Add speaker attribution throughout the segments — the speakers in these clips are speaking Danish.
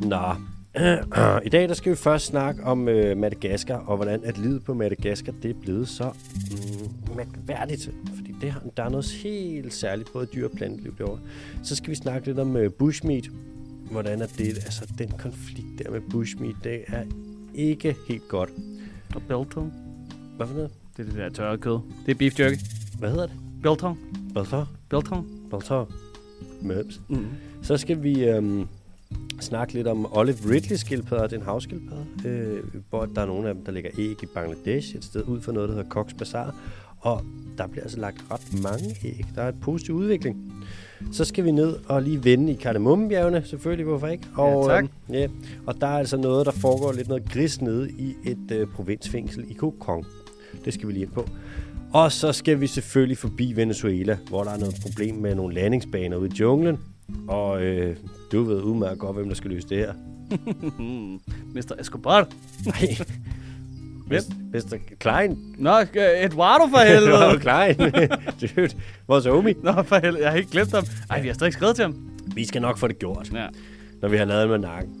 Speaker 1: Nå. I dag der skal vi først snakke om øh, Madagaskar, og hvordan at livet på Madagaskar det er blevet så mm, mærkværdigt. Fordi det, har- der er noget helt særligt, både dyr- og planteliv derovre. Så skal vi snakke lidt om øh, bushmeat. Hvordan er det, altså den konflikt der med bushmeat, det er ikke helt godt.
Speaker 2: Og biltong.
Speaker 1: Hvad for noget?
Speaker 2: Det er det der tørre kød. Det er beef jerky.
Speaker 1: Hvad hedder det?
Speaker 2: Biltong.
Speaker 1: Baltar?
Speaker 2: Biltong.
Speaker 1: Baltar? Møms.
Speaker 2: Mm.
Speaker 1: Så skal vi øhm, snakke lidt om Olive Ridley-skildpadder. Det er en havskildpadde, øh, hvor der er nogle af dem, der ligger æg i Bangladesh, et sted ud for noget, der hedder Cox Bazaar. Og der bliver altså lagt ret mange æg. Der er en positiv udvikling. Så skal vi ned og lige vende i Kardemommebjergene, selvfølgelig, hvorfor ikke? Og,
Speaker 2: Ja, tak.
Speaker 1: Øhm, ja, og der er altså noget, der foregår lidt noget gris nede i et øh, provinsfængsel i Kokong. Det skal vi lige ind på. Og så skal vi selvfølgelig forbi Venezuela, hvor der er noget problem med nogle landingsbaner ude i junglen. Og øh, du ved udmærket godt, hvem der skal løse det her.
Speaker 2: Mr. Escobar.
Speaker 1: Nej.
Speaker 2: Hvem?
Speaker 1: Mr. Klein.
Speaker 2: Nå, øh, Eduardo for
Speaker 1: Det var jo
Speaker 2: helvede.
Speaker 1: Klein. Dude, vores homie.
Speaker 2: Nå, for helvede. Jeg har ikke glemt ham. Ej, vi har stadig ikke skrevet til ham.
Speaker 1: Vi skal nok få det gjort,
Speaker 2: Ja.
Speaker 1: når vi har lavet med nakken.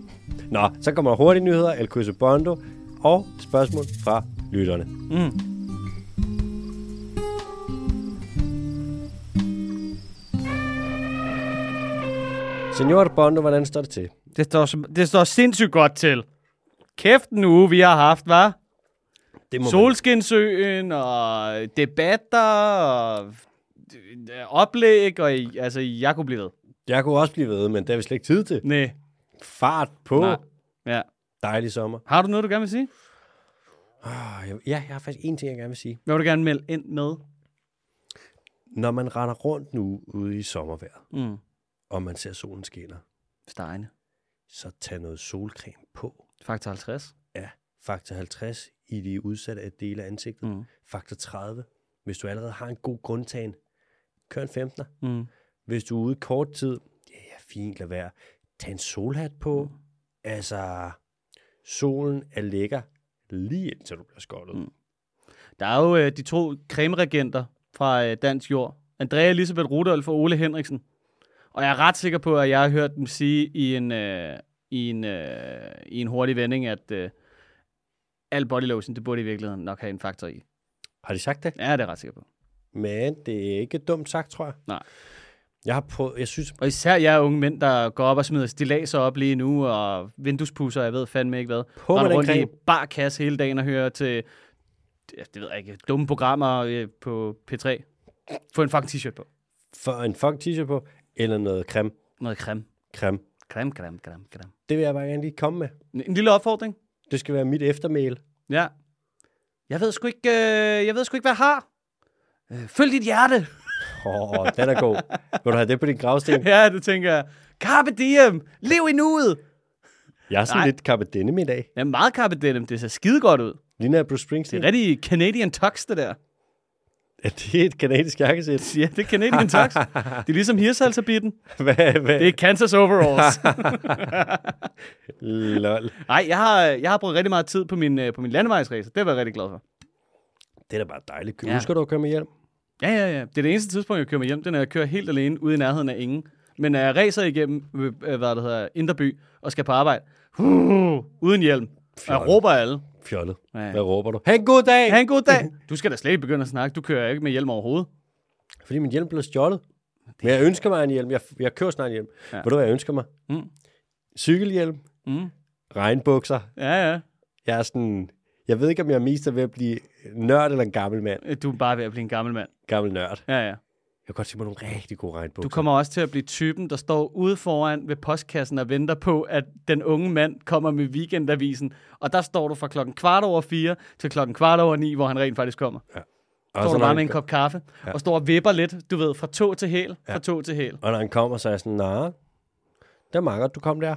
Speaker 1: Nå, så kommer der hurtige nyheder, El Curso Bondo og spørgsmål fra lytterne.
Speaker 2: Mm.
Speaker 1: Senor Bondo, hvordan står det til?
Speaker 2: Det står, som- det står sindssygt godt til. Kæft en uge, vi har haft, hva'?
Speaker 1: Det
Speaker 2: Solskinsøen og debatter og øh, oplæg, og I- altså, jeg kunne blive ved.
Speaker 1: Jeg kunne også blive ved, men det har vi slet ikke tid til.
Speaker 2: Næ.
Speaker 1: Fart på.
Speaker 2: Nej. Ja.
Speaker 1: Dejlig sommer.
Speaker 2: Har du noget, du gerne vil sige?
Speaker 1: Oh, jeg, ja, jeg har faktisk en ting, jeg gerne vil sige.
Speaker 2: Hvad vil du gerne melde ind med?
Speaker 1: Når man render rundt nu ude i sommervejr,
Speaker 2: Mm.
Speaker 1: og man ser solen skinner,
Speaker 2: Stegne.
Speaker 1: så tag noget solcreme på.
Speaker 2: Faktor 50.
Speaker 1: Ja, faktor 50 i de udsatte dele af ansigtet.
Speaker 2: Mm.
Speaker 1: Faktor 30, hvis du allerede har en god grundtagen. Kør en 15'er.
Speaker 2: Mm.
Speaker 1: Hvis du er ude i kort tid, ja, ja fint, lad være. Tag en solhat på.
Speaker 2: Mm.
Speaker 1: Altså, solen er lækker lige indtil du bliver skoldet.
Speaker 2: Mm. Der er jo øh, de to cremeregenter fra øh, Dansk Jord. Andrea Elisabeth Rudolf og Ole Henriksen. Og jeg er ret sikker på, at jeg har hørt dem sige i en, øh, i en, øh, i en hurtig vending, at øh, al body lotion, det burde i virkeligheden nok have en faktor i.
Speaker 1: Har de sagt det?
Speaker 2: Ja, det er jeg ret sikker på.
Speaker 1: Men det er ikke dumt sagt, tror jeg.
Speaker 2: Nej.
Speaker 1: Jeg har prøvet, jeg synes,
Speaker 2: Og især jer unge mænd, der går op og smider stilaser op lige nu, og vinduespusser, jeg ved fandme ikke hvad.
Speaker 1: På med
Speaker 2: Render
Speaker 1: den
Speaker 2: rundt i
Speaker 1: creme.
Speaker 2: bar kasse hele dagen og hører til, ja, det ved jeg ikke, dumme programmer øh, på P3. Få en fucking t-shirt på.
Speaker 1: for en fuck t-shirt på, eller noget creme.
Speaker 2: Noget creme.
Speaker 1: creme.
Speaker 2: Creme, creme, creme, creme.
Speaker 1: Det vil jeg bare gerne lige komme med.
Speaker 2: En- En lille opfordring.
Speaker 1: Det skal være mit eftermæl.
Speaker 2: Ja. Jeg ved sgu ikke, øh, jeg ved sgu ikke, hvad jeg har. Øh, følg dit hjerte.
Speaker 1: Åh, oh, den er god. Vil du have det på din gravsten?
Speaker 2: ja, det tænker jeg. Carpe diem. Lev i nuet.
Speaker 1: Jeg er sådan
Speaker 2: Nej.
Speaker 1: Nej. lidt carpe diem i dag.
Speaker 2: Ja, meget carpe diem. Det ser skide godt ud.
Speaker 1: Ligner jeg Bruce
Speaker 2: Det
Speaker 1: Springsteen?
Speaker 2: er rigtig Canadian tux, det der.
Speaker 1: Er det et kanadisk jakkesæt?
Speaker 2: Ja, det er Canadian Tux. Det er ligesom hirsalsabitten.
Speaker 1: hvad, hvad?
Speaker 2: Det er Kansas overalls.
Speaker 1: Lol.
Speaker 2: Nej, jeg har, jeg har brugt rigtig meget tid på min, øh, på min landevejsrace. Det var jeg rigtig glad for.
Speaker 1: Det er da bare dejligt.
Speaker 2: Ja.
Speaker 1: Ja. Husker du at køre med hjem?
Speaker 2: Ja, ja, ja. Det er det eneste tidspunkt, jeg kører mig hjem. Det er, når jeg kører helt alene ude i nærheden af ingen. Men når jeg racer igennem, øh, øh, hvad det hedder, Inderby, og skal på arbejde, uh, uden hjelm, og jeg
Speaker 1: Fjollet.
Speaker 2: råber alle.
Speaker 1: Fjollet.
Speaker 2: Ja.
Speaker 1: Hvad råber du? Ha' en god dag!
Speaker 2: Ha' en god dag. Du skal da slet ikke begynde at snakke. Du kører ikke med hjelm overhovedet.
Speaker 1: Fordi min hjelm blev stjålet. Men jeg ønsker mig en hjelm. Jeg, jeg kører snart en hjelm. Ja. Ved du, hvad jeg ønsker mig?
Speaker 2: Mm.
Speaker 1: Cykelhjelm.
Speaker 2: Mm.
Speaker 1: Regnbukser.
Speaker 2: Ja, ja.
Speaker 1: Jeg er sådan... Jeg ved ikke, om jeg mest er ved at blive nørd eller en gammel mand.
Speaker 2: Øh, Du er bare ved at blive en gammel mand.
Speaker 1: Gammel nørd.
Speaker 2: Ja, ja.
Speaker 1: Jeg kunne godt tænke mig nogle rigtig gode regnbukser.
Speaker 2: Du kommer også til at blive typen, der står ude foran ved postkassen og venter på, at den unge mand kommer med weekendavisen. Og der står du fra klokken kvart over fire til klokken kvart over ni, hvor han rent faktisk kommer.
Speaker 1: og
Speaker 2: Står
Speaker 1: så
Speaker 2: du
Speaker 1: når
Speaker 2: bare
Speaker 1: han
Speaker 2: med en
Speaker 1: ko-
Speaker 2: kop kaffe og står og vipper lidt, du ved, fra tå til hæl, fra tå til hæl.
Speaker 1: Og når han kommer, så er jeg sådan, nej, det er meget godt, du kom der.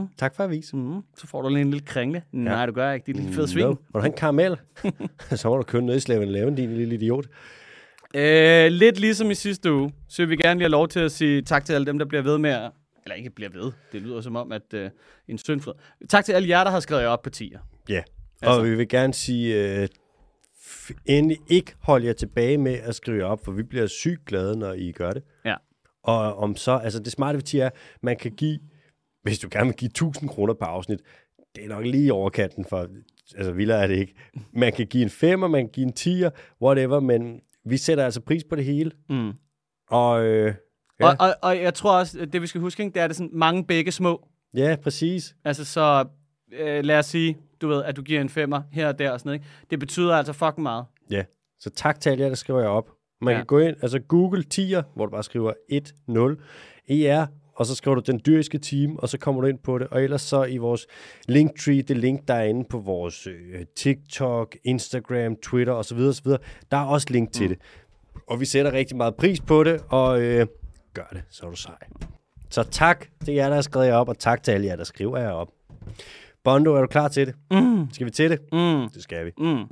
Speaker 2: Mm,
Speaker 1: Tak for avisen.
Speaker 2: mm. Så får du lige en lille kringle. Nej, du gør ikke. Det er lige fed svin.
Speaker 1: No. Må du have en karamel? så må du købe ned i slaven lave din lille idiot.
Speaker 2: Øh, lidt ligesom i sidste uge, så vil vi gerne lige have lov til at sige tak til alle dem, der bliver ved med at... Eller ikke bliver ved. Det lyder som om, at øh, en syndflod. Tak til alle jer, der har skrevet jer op på tier.
Speaker 1: Ja. Yeah.
Speaker 2: Altså.
Speaker 1: Og vi vil gerne sige, øh, f- endelig ikke hold jer tilbage med at skrive op, for vi bliver sygt glade, når I gør det.
Speaker 2: Ja.
Speaker 1: Og om så, altså det smarte ved Tia er, man kan give hvis du gerne vil give 1000 kroner per afsnit, det er nok lige i overkanten for, altså vildere er det ikke. Man kan give en 5'er, man kan give en 10'er, whatever, men vi sætter altså pris på det hele.
Speaker 2: Mm.
Speaker 1: Og øh, Ja.
Speaker 2: Og, og, og jeg tror også, at det vi skal huske, ikke, det er, at det er sådan mange begge små.
Speaker 1: ja, præcis.
Speaker 2: Altså så, øh, lad os sige, du ved, at du giver en femmer her og der og sådan noget. Ikke? Det betyder altså fucking meget.
Speaker 1: Ja, så tak til alle jer, der skriver jer op. Man
Speaker 2: Ja.
Speaker 1: ja. kan gå ind, altså Google tier, hvor du bare skriver 1-0 ER, og så skriver du den dyriske team, og så kommer du ind på det. Og ellers så i vores linktree, det link, der er inde på vores øh, TikTok, Instagram, Twitter osv. osv. Der er også link til mm. det. Og vi sætter rigtig meget pris på det, og øh, gør det, så er du sej. Så tak til jer, der har skrevet jer op, og tak til alle jer, der skriver jer op. Bondo, er du klar til det? Mm. Skal vi til det?
Speaker 2: Mm.
Speaker 1: Det skal vi.
Speaker 2: Mm.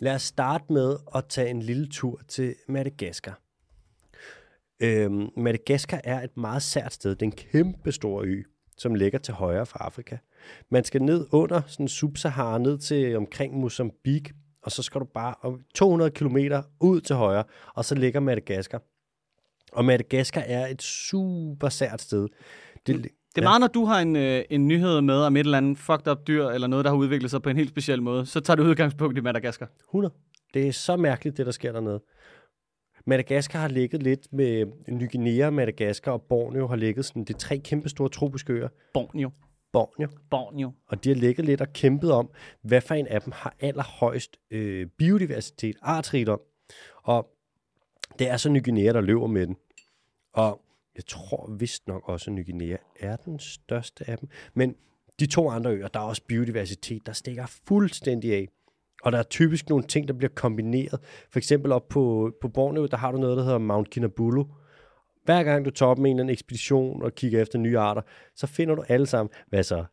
Speaker 1: Lad os starte med at tage en lille tur til Madagaskar. Øhm, Madagaskar er et meget sært sted. Det er en kæmpe stor ø, som ligger til højre for Afrika. Man skal ned under sådan Sub-Sahara, ned til omkring Mozambique, og så skal du bare om 200 km ud til højre, og så ligger Madagaskar. Og Madagaskar er et super sært sted. Det,
Speaker 2: Det er meget, når du har en, øh, en nyhed med om et eller andet fucked up dyr, eller noget, der har udviklet sig på en helt speciel måde, så tager du udgangspunkt i Madagaskar.
Speaker 1: 100. Det er så mærkeligt, det der sker dernede. Madagaskar har ligget lidt med Ny Guinea, Madagaskar og Borneo har ligget sådan, det er tre kæmpe store tropiske øer.
Speaker 2: Borneo.
Speaker 1: Borneo.
Speaker 2: Borneo.
Speaker 1: Og de har ligget lidt og kæmpet om, hvad for en af dem har allerhøjst øh, biodiversitet, artrigdom. Og det er så Ny Guinea, der løber med den. Og jeg tror vist nok også, at Ny Guinea er den største af dem. Men de to andre øer, der er også biodiversitet, der stikker fuldstændig af. Og der er typisk nogle ting, der bliver kombineret. For eksempel op på, på Borneo, der har du noget, der hedder Mount Kinabalu. Hver gang du tager op med en eller anden ekspedition og kigger efter nye arter, så finder du alle sammen, hvad så?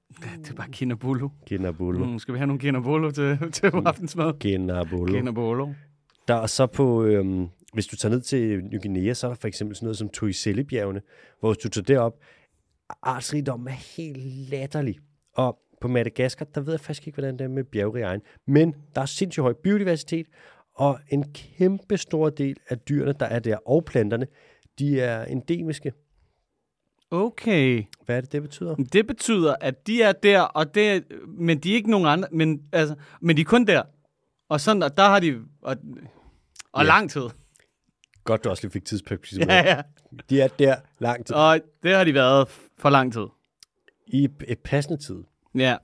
Speaker 2: Det er bare Kinabulu.
Speaker 1: Kinabalu.
Speaker 2: Mm, skal vi have nogle Kinabulu til, til aftensmad?
Speaker 1: Genabolo.
Speaker 2: Kinabulu.
Speaker 1: Der er så på, øhm, hvis du tager ned til Ny Guinea, så er der for eksempel sådan noget som Toisellebjergene, hvor hvis du tager derop, artsrigdommen er helt latterlig. Og på Madagaskar, der ved jeg faktisk ikke, hvordan det er med bjergrige egen, men der er sindssygt høj biodiversitet, og en kæmpe stor del af dyrene, der er der, og planterne, de er endemiske.
Speaker 2: Okay.
Speaker 1: Hvad er det, det betyder?
Speaker 2: Det betyder, at de er der, og det, men de er ikke nogen andre, men, altså, men de er kun der. Og sådan, og der har de, og, og
Speaker 1: Ja.
Speaker 2: lang tid.
Speaker 1: Godt, du også lige fik tidsperspektiv.
Speaker 2: Ja,
Speaker 1: med.
Speaker 2: ja.
Speaker 1: De er der lang tid.
Speaker 2: Og det har de været for lang tid.
Speaker 1: I et passende tid.
Speaker 2: Ja.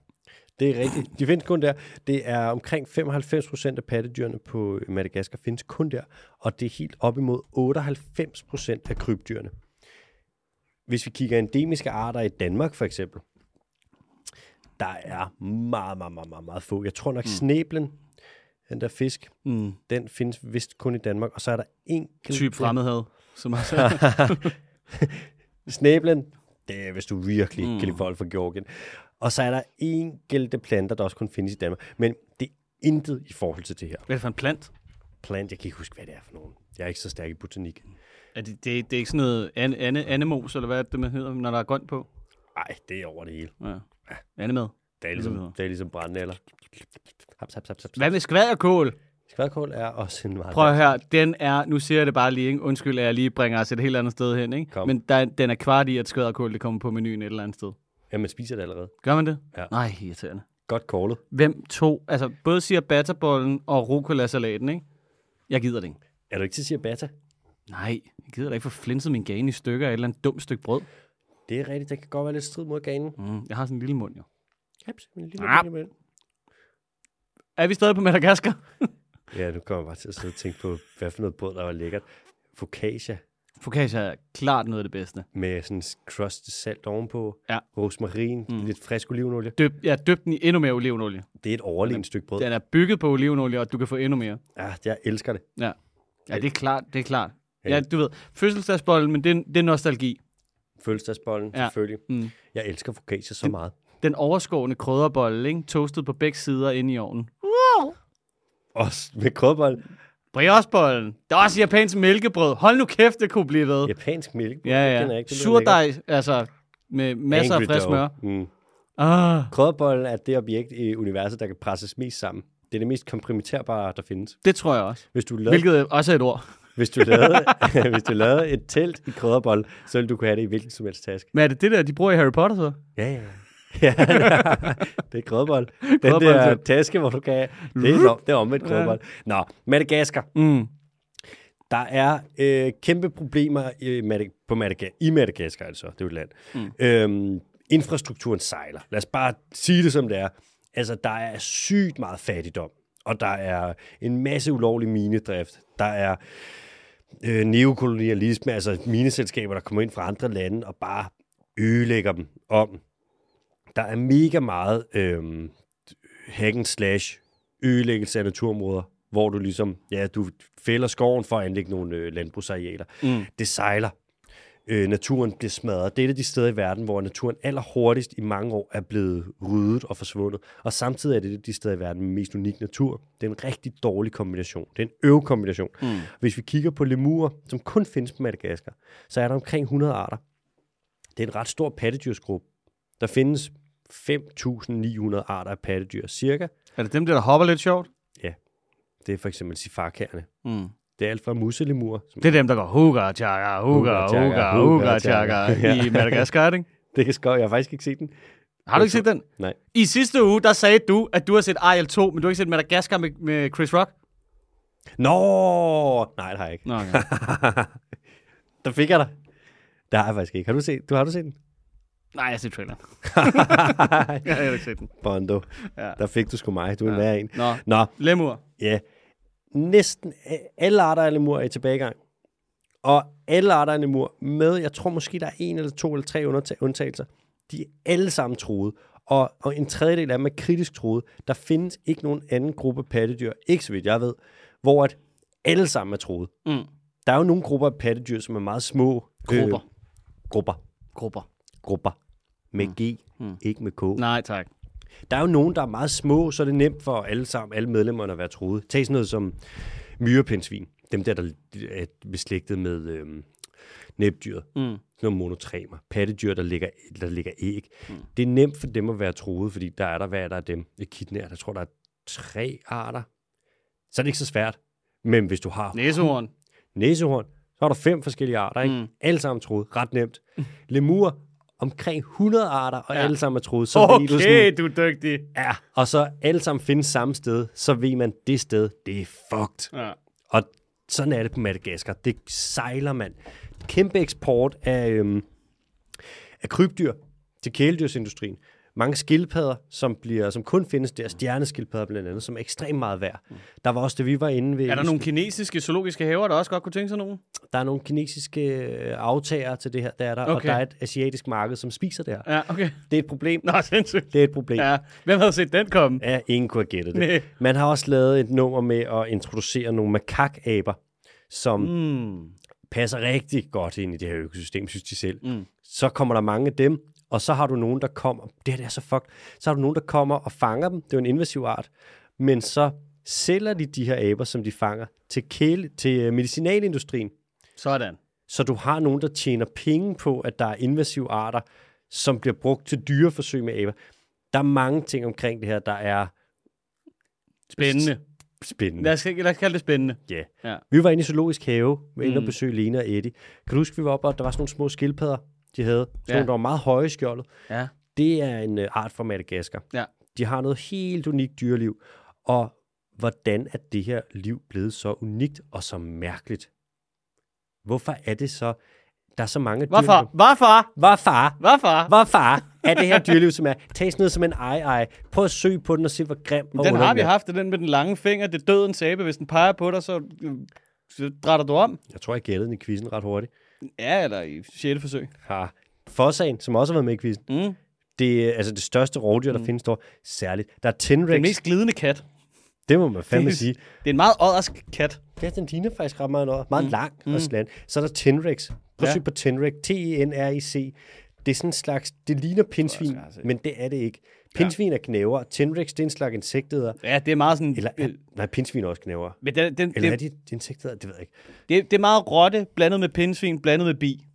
Speaker 1: Det er rigtigt. De findes kun der. Det er omkring 95 procent af pattedyrene på Madagaskar findes kun der, og det er helt op imod 98 procent af krybdyrene. Hvis vi kigger endemiske arter i Danmark for eksempel, der er meget, meget, meget, meget, meget få. Jeg tror nok mm. sneblen, den der fisk,
Speaker 2: Mm.
Speaker 1: den findes vist kun i Danmark, og så er der enkelt...
Speaker 2: Typ fremmedhed. Som også,
Speaker 1: Snæblen, det er, hvis du virkelig mm. kan lide folk fra Georgien. Og så er der enkelte planter, der også kun findes i Danmark. Men det er intet i forhold til det her.
Speaker 2: hvad er det for en plant?
Speaker 1: Plant, jeg kan ikke huske, hvad det er for nogen. Jeg er ikke så stærk i botanik.
Speaker 2: Er det, det, det er ikke sådan noget an, an, anemos, eller hvad er det, man hedder, når der er grønt på?
Speaker 1: Nej, det er over det hele.
Speaker 2: Ja. Anemad.
Speaker 1: Det er ligesom, det er ligesom brændenælder. Haps, haps, haps, haps.
Speaker 2: Hvad med skvaderkål?
Speaker 1: Skvadkål er også en meget...
Speaker 2: Prøv at høre, den er, nu siger jeg det bare lige, ikke? undskyld, at jeg lige bringer os et helt andet sted hen, ikke?
Speaker 1: Kom.
Speaker 2: men der, den er kvart i, at skvaderkål det kommer på menuen et eller andet sted.
Speaker 1: Ja, man spiser det allerede.
Speaker 2: Gør man det?
Speaker 1: Ja.
Speaker 2: Nej, irriterende.
Speaker 1: Godt callet.
Speaker 2: Hvem to? Altså, både siger batterbollen og rucola-salaten, ikke? Jeg gider det ikke.
Speaker 1: Er du ikke til ciabatta?
Speaker 2: Nej, jeg gider da ikke få flinset min gane i stykker af et eller andet dumt stykke brød.
Speaker 1: Det er rigtigt. Der kan godt være lidt strid mod ganen.
Speaker 2: Mm, jeg har sådan en lille mund, jo.
Speaker 1: Haps, en
Speaker 2: Ah.
Speaker 1: lille, lille
Speaker 2: Er vi stadig på Madagaskar?
Speaker 1: Ja, nu kommer jeg bare til at sidde og tænke på, hvad for noget brød, der var lækkert. Focaccia.
Speaker 2: Focaccia er klart noget af det bedste.
Speaker 1: med sådan crust salt ovenpå,
Speaker 2: Ja.
Speaker 1: rosmarin, mm. lidt frisk olivenolie.
Speaker 2: Døb, jeg har døbt den i endnu mere olivenolie.
Speaker 1: Det er et overlegent stykke brød.
Speaker 2: Den er bygget på olivenolie, og du kan få endnu mere.
Speaker 1: Ja, jeg elsker det.
Speaker 2: Ja, ja det er klart, det er klart.
Speaker 1: Ja.
Speaker 2: Ja, du ved, fødselsdagsbollen, men det, er- det er nostalgi.
Speaker 1: Følelsesbollen,
Speaker 2: Ja.
Speaker 1: ja. selvfølgelig.
Speaker 2: Mm.
Speaker 1: Jeg elsker focaccia så meget.
Speaker 2: Den overskårende krydderbolle, ikke? Toastet på begge sider inde i ovnen.
Speaker 1: Også med krødbold.
Speaker 2: Briochebollen. Der er også japansk mælkebrød. Hold nu kæft, det kunne blive ved.
Speaker 1: Japansk mælk.
Speaker 2: Ja,
Speaker 1: Det kender jeg
Speaker 2: ja.
Speaker 1: ikke. Det lyder lækkert.
Speaker 2: Surdej, altså med masser af
Speaker 1: Angry
Speaker 2: frisk
Speaker 1: dough.
Speaker 2: smør.
Speaker 1: Mm.
Speaker 2: Ah,
Speaker 1: Krødbollen er det objekt i universet, der kan presses mest sammen. Det er det mest komprimeterbare, der findes.
Speaker 2: det tror jeg også.
Speaker 1: Hvis du lavede
Speaker 2: Hvilket også er et ord.
Speaker 1: Hvis du lavede, hvis du lavede et telt i krydderbold, så ville du kunne have det i hvilken som helst taske.
Speaker 2: Men er det det der, de bruger i Harry Potter så?
Speaker 1: Ja, ja. ja, det er krydderbold. Den der
Speaker 2: Krydderboldtelt.
Speaker 1: taske, hvor du kan... Det er, det er omvendt krydderbold. Nå, Madagaskar.
Speaker 2: Mm.
Speaker 1: Der er øh, kæmpe problemer i, Madag- på Madaga- i Madagaskar, altså. Det er jo et land. Mm. Øhm, infrastrukturen sejler. Lad os bare sige det, som det er. Altså, der er sygt meget fattigdom. Og der er en masse ulovlig minedrift. Der er øh, neokolonialisme, altså mineselskaber, der kommer ind fra andre lande og bare ødelægger dem om. Der er mega meget øh, hack and slash ødelæggelse af naturområder, hvor du ligesom, ja, du fælder skoven for at anlægge nogle øh, landbrugsarealer. Mm. Det sejler. Øh, naturen bliver smadret. Det er et af de steder i verden, hvor naturen allerhurtigst i mange år er blevet ryddet og forsvundet. Og samtidig er det et af de steder i verden med mest unik natur. Det er en rigtig dårlig kombination. Det er en øvekombination. Mm. Hvis vi kigger på lemurer, som kun findes på Madagaskar, så er der omkring 100 arter. Det er en ret stor pattedyrsgruppe. Der findes 5.900 arter af pattedyr cirka,
Speaker 2: Er det dem der, der hopper lidt sjovt?
Speaker 1: det er for eksempel sifarkærne.
Speaker 2: Mm.
Speaker 1: Det er alt fra muselemurer. Som,
Speaker 2: Det er dem, der går hugga, tjaka, hugga,
Speaker 1: Hugga, tjaka,
Speaker 2: hugga,
Speaker 1: hugga,
Speaker 2: hugga, tjaka
Speaker 1: tjaka.
Speaker 2: i Madagaskar, ikke?
Speaker 1: det kan skøj. Jeg har faktisk ikke set den.
Speaker 2: Har du ikke set den?
Speaker 1: Nej.
Speaker 2: I sidste uge, der sagde du, at du har set Ariel 2, men du har ikke set Madagaskar med, med Chris Rock.
Speaker 1: Nå! Nej, det har jeg ikke.
Speaker 2: Nå, okay.
Speaker 1: Der fik jeg dig. Det har jeg faktisk ikke. Har du set, du, har du set den?
Speaker 2: Nej, jeg har set traileren. Jeg har ikke set den.
Speaker 1: Bondo.
Speaker 2: Ja.
Speaker 1: Der fik du sgu mig. Du er en værre en.
Speaker 2: Nå, Øh.
Speaker 1: Nå,
Speaker 2: lemur.
Speaker 1: ja. Næsten alle arter af lemur er i tilbagegang. Og alle arter af lemur med, jeg tror måske, der er en eller to eller tre underta- undtagelser. De er alle sammen truet. Og, og en tredjedel af dem er kritisk truet. Der findes ikke nogen anden gruppe pattedyr, ikke så vidt jeg ved, hvor at alle sammen er truet.
Speaker 2: Mm.
Speaker 1: Der er jo nogle grupper af pattedyr, som er meget små.
Speaker 2: Grupper.
Speaker 1: Øh, grupper.
Speaker 2: Grupper.
Speaker 1: Grupper. Med
Speaker 2: Mm.
Speaker 1: G, ikke med K.
Speaker 2: Nej, tak.
Speaker 1: Der er jo nogen, der er meget små, så er det nemt for alle sammen, alle medlemmerne at være troet. Tag sådan noget som myrepindsvin. Dem der, der er beslægtet med øhm, næbdyret. Mm. Sådan nogle monotremer. Pattedyr, der ligger, der ligger æg. Mm. Det er nemt for dem at være troet, fordi der er der, hvad er der af dem? Ekidnær, der tror, der er tre arter. Så er det ikke så svært. Men hvis du har
Speaker 2: Næsehorn.
Speaker 1: næsehorn, så har du fem forskellige arter, ikke? Mm. Alle sammen troet. Ret nemt. Lemur, omkring 100 arter, og ja. alle sammen er troet. Så ved du sådan,
Speaker 2: Okay, du er dygtig.
Speaker 1: Ja, og så alle sammen findes samme sted, så ved man, det sted, det er fucked.
Speaker 2: Ja.
Speaker 1: Og sådan er det på Madagaskar. Det sejler, man. Kæmpe eksport af, øhm, af krybdyr til kæledyrsindustrien. Mange skildpadder, som, bliver, som kun findes der, stjerneskildpadder blandt andet, som er ekstremt meget værd. Der var også det, vi var inde ved.
Speaker 2: Er der nogle kinesiske zoologiske haver, der også godt kunne tænke sig nogen?
Speaker 1: der er nogle kinesiske øh, aftager til det her, der er der, og
Speaker 2: Okay.
Speaker 1: der er et asiatisk marked, som spiser det her.
Speaker 2: Ja, okay.
Speaker 1: Det er et problem.
Speaker 2: Nå, sindssygt.
Speaker 1: Det er et problem.
Speaker 2: Ja, hvem havde set den komme?
Speaker 1: Ja, ingen kunne have gættet det.
Speaker 2: Næ.
Speaker 1: Man har også lavet et nummer med at introducere nogle makakaber, som mm.
Speaker 2: Hmm.
Speaker 1: passer rigtig godt ind i det her økosystem, synes de selv. Mm. Så kommer der mange af dem, og så har du nogen, der kommer. Det her det er så fucked. Så har du nogen, der kommer og fanger dem. Det er jo en invasiv art. Men så sælger de de her aber, som de fanger, til, kæle, til øh, medicinalindustrien.
Speaker 2: Sådan.
Speaker 1: Så du har nogen, der tjener penge på, at der er invasive arter, som bliver brugt til dyreforsøg med aber. Der er mange ting omkring det her, der er
Speaker 2: Spændende.
Speaker 1: spændende.
Speaker 2: Lad os, lad os kalde det spændende.
Speaker 1: Ja.
Speaker 2: Ja. Mm.
Speaker 1: Vi var inde i zoologisk have, med inde og besøge Lena og Eddie. Kan du huske, vi var oppe, og der var sådan nogle små skildpadder, de havde. Sådan
Speaker 2: Ja.
Speaker 1: nogle, der var meget høje i skjoldet.
Speaker 2: Ja.
Speaker 1: Det er en øh, art fra Madagaskar.
Speaker 2: Ja.
Speaker 1: De har noget helt unikt dyreliv. Og hvordan er det her liv blevet så unikt og så mærkeligt? Hvorfor er det så, der er så mange
Speaker 2: Hvorfor?
Speaker 1: dyreliv?
Speaker 2: Hvorfor?
Speaker 1: Hvorfor?
Speaker 2: Hvorfor?
Speaker 1: Hvorfor er det her dyreliv, som er? Tag sådan noget som en ej-ej. Prøv at søge på den og se, hvor grim og
Speaker 2: Den har
Speaker 1: underlig
Speaker 2: vi
Speaker 1: den er.
Speaker 2: haft, det er den med den lange finger. Det er dødens sæbe. Hvis den peger på dig, så, øh, så drætter du om.
Speaker 1: Jeg tror, jeg gættede den i quizzen ret hurtigt.
Speaker 2: Ja, eller i 6. forsøg.
Speaker 1: har Fossaen, som også har været med i quizzen.
Speaker 2: Mm.
Speaker 1: Det er altså det største rovdyr, der mm. findes der. Særligt. Der er Tenrex.
Speaker 2: Den
Speaker 1: Det,
Speaker 2: mest glidende kat.
Speaker 1: det må man fandme sige.
Speaker 2: Det er en meget oddersk kat.
Speaker 1: Ja, den ligner faktisk ret meget noget. Meget mm. lang og slant. Så er der Tenrex. Prøv at
Speaker 2: Ja.
Speaker 1: søg på Tenrex. T-E-N-R-I-C. Det er sådan en slags... Det ligner pindsvin,
Speaker 2: jeg har set.
Speaker 1: men det er det ikke. Pindsvin er knæver. Tenrex, det er en slags insektæder.
Speaker 2: Ja, det er meget sådan... øh,
Speaker 1: Eller er, nej, pindsvin er også knæver.
Speaker 2: men den, den,
Speaker 1: Eller
Speaker 2: det,
Speaker 1: er de de insektæder? Det ved jeg ikke.
Speaker 2: det, det, er meget rotte, blandet med pindsvin, blandet med bi.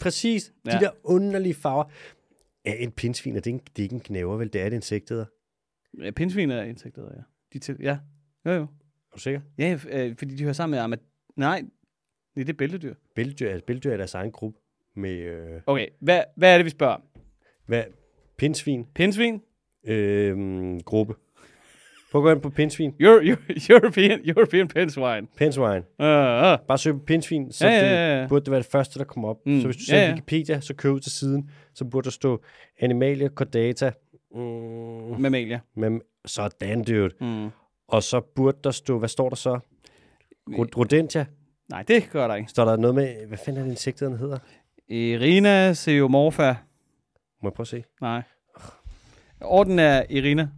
Speaker 1: Præcis. Ja.
Speaker 2: Ja.
Speaker 1: De der underlige farver. Ja, en pindsvin, er det, en, det er ikke en knæver, vel? Det er et insektæder.
Speaker 2: Ja, pindsvin er insekter, ja. De til, ja. Jo, jo.
Speaker 1: Er du sikker?
Speaker 2: Ja, øh, fordi de hører sammen med armad- Nej, det er bæltedyr.
Speaker 1: Bæltedyr, altså bæltedyr er deres egen gruppe med... Øh,
Speaker 2: Okay, hvad, hvad er det, vi spørger om?
Speaker 1: hvad? Pindsvin
Speaker 2: Pindsvin?
Speaker 1: øh, gruppe. Prøv at gå ind på pindsvin.
Speaker 2: Euro, Euro- European, European pinswine.
Speaker 1: Pindsvin.
Speaker 2: Uh, uh.
Speaker 1: Bare søg på pindsvin, så
Speaker 2: Ja,
Speaker 1: ja,
Speaker 2: ja,
Speaker 1: ja,
Speaker 2: ja, ja.
Speaker 1: Det burde det være det første, der kommer op.
Speaker 2: Mm,
Speaker 1: Mm, så hvis du
Speaker 2: ja,
Speaker 1: ser ja,
Speaker 2: ja.
Speaker 1: Wikipedia, så køb ud til siden, så burde der stå Animalia Cordata. Mm,
Speaker 2: Mammalia.
Speaker 1: men sådan, dude.
Speaker 2: Mm.
Speaker 1: Og så burde der stå, hvad står der så? Rod- Rodentia.
Speaker 2: Nej, det gør der ikke.
Speaker 1: Står der noget med, hvad fanden er det insekterne hedder?
Speaker 2: Irina Seomorfa.
Speaker 1: Må jeg prøve at se?
Speaker 2: Nej. Orden er Irina.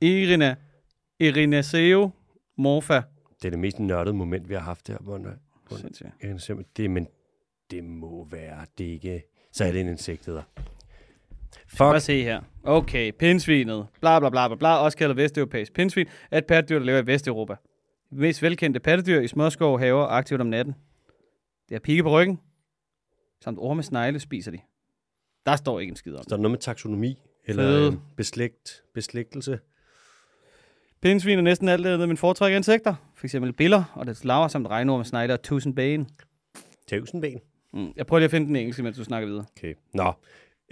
Speaker 2: Irina. Irina Seo Morfa.
Speaker 1: Det er det mest nørdede moment, vi har haft her. Hvor nø- hvor-
Speaker 2: Sindssygt.
Speaker 1: jeg kan simpelthen- det, men det må være, det er ikke... Så er det en insekt, der hedder.
Speaker 2: Prøv at
Speaker 1: Fuck,
Speaker 2: se her. Okay, pindsvinet. Bla bla bla bla bla. Også kaldet vesteuropæisk pindsvin. Er et pattedyr, der lever i Vesteuropa. Det mest velkendte pattedyr i småskov, haver og aktivt om natten. Det har pigge på ryggen. Samt orme snegle spiser de. Der står ikke en skid om det.
Speaker 1: der er noget med taksonomi, eller
Speaker 2: Fede.
Speaker 1: øh, beslægt, beslægtelse.
Speaker 2: Pindsvin er næsten alt andet, men foretrækker insekter. For eksempel biller og dets larver samt regnorme, snegle og tusindbane.
Speaker 1: Tøvsenben.
Speaker 2: Mm. Jeg prøver lige at finde den engelske, mens du snakker videre.
Speaker 1: Okay. Nå.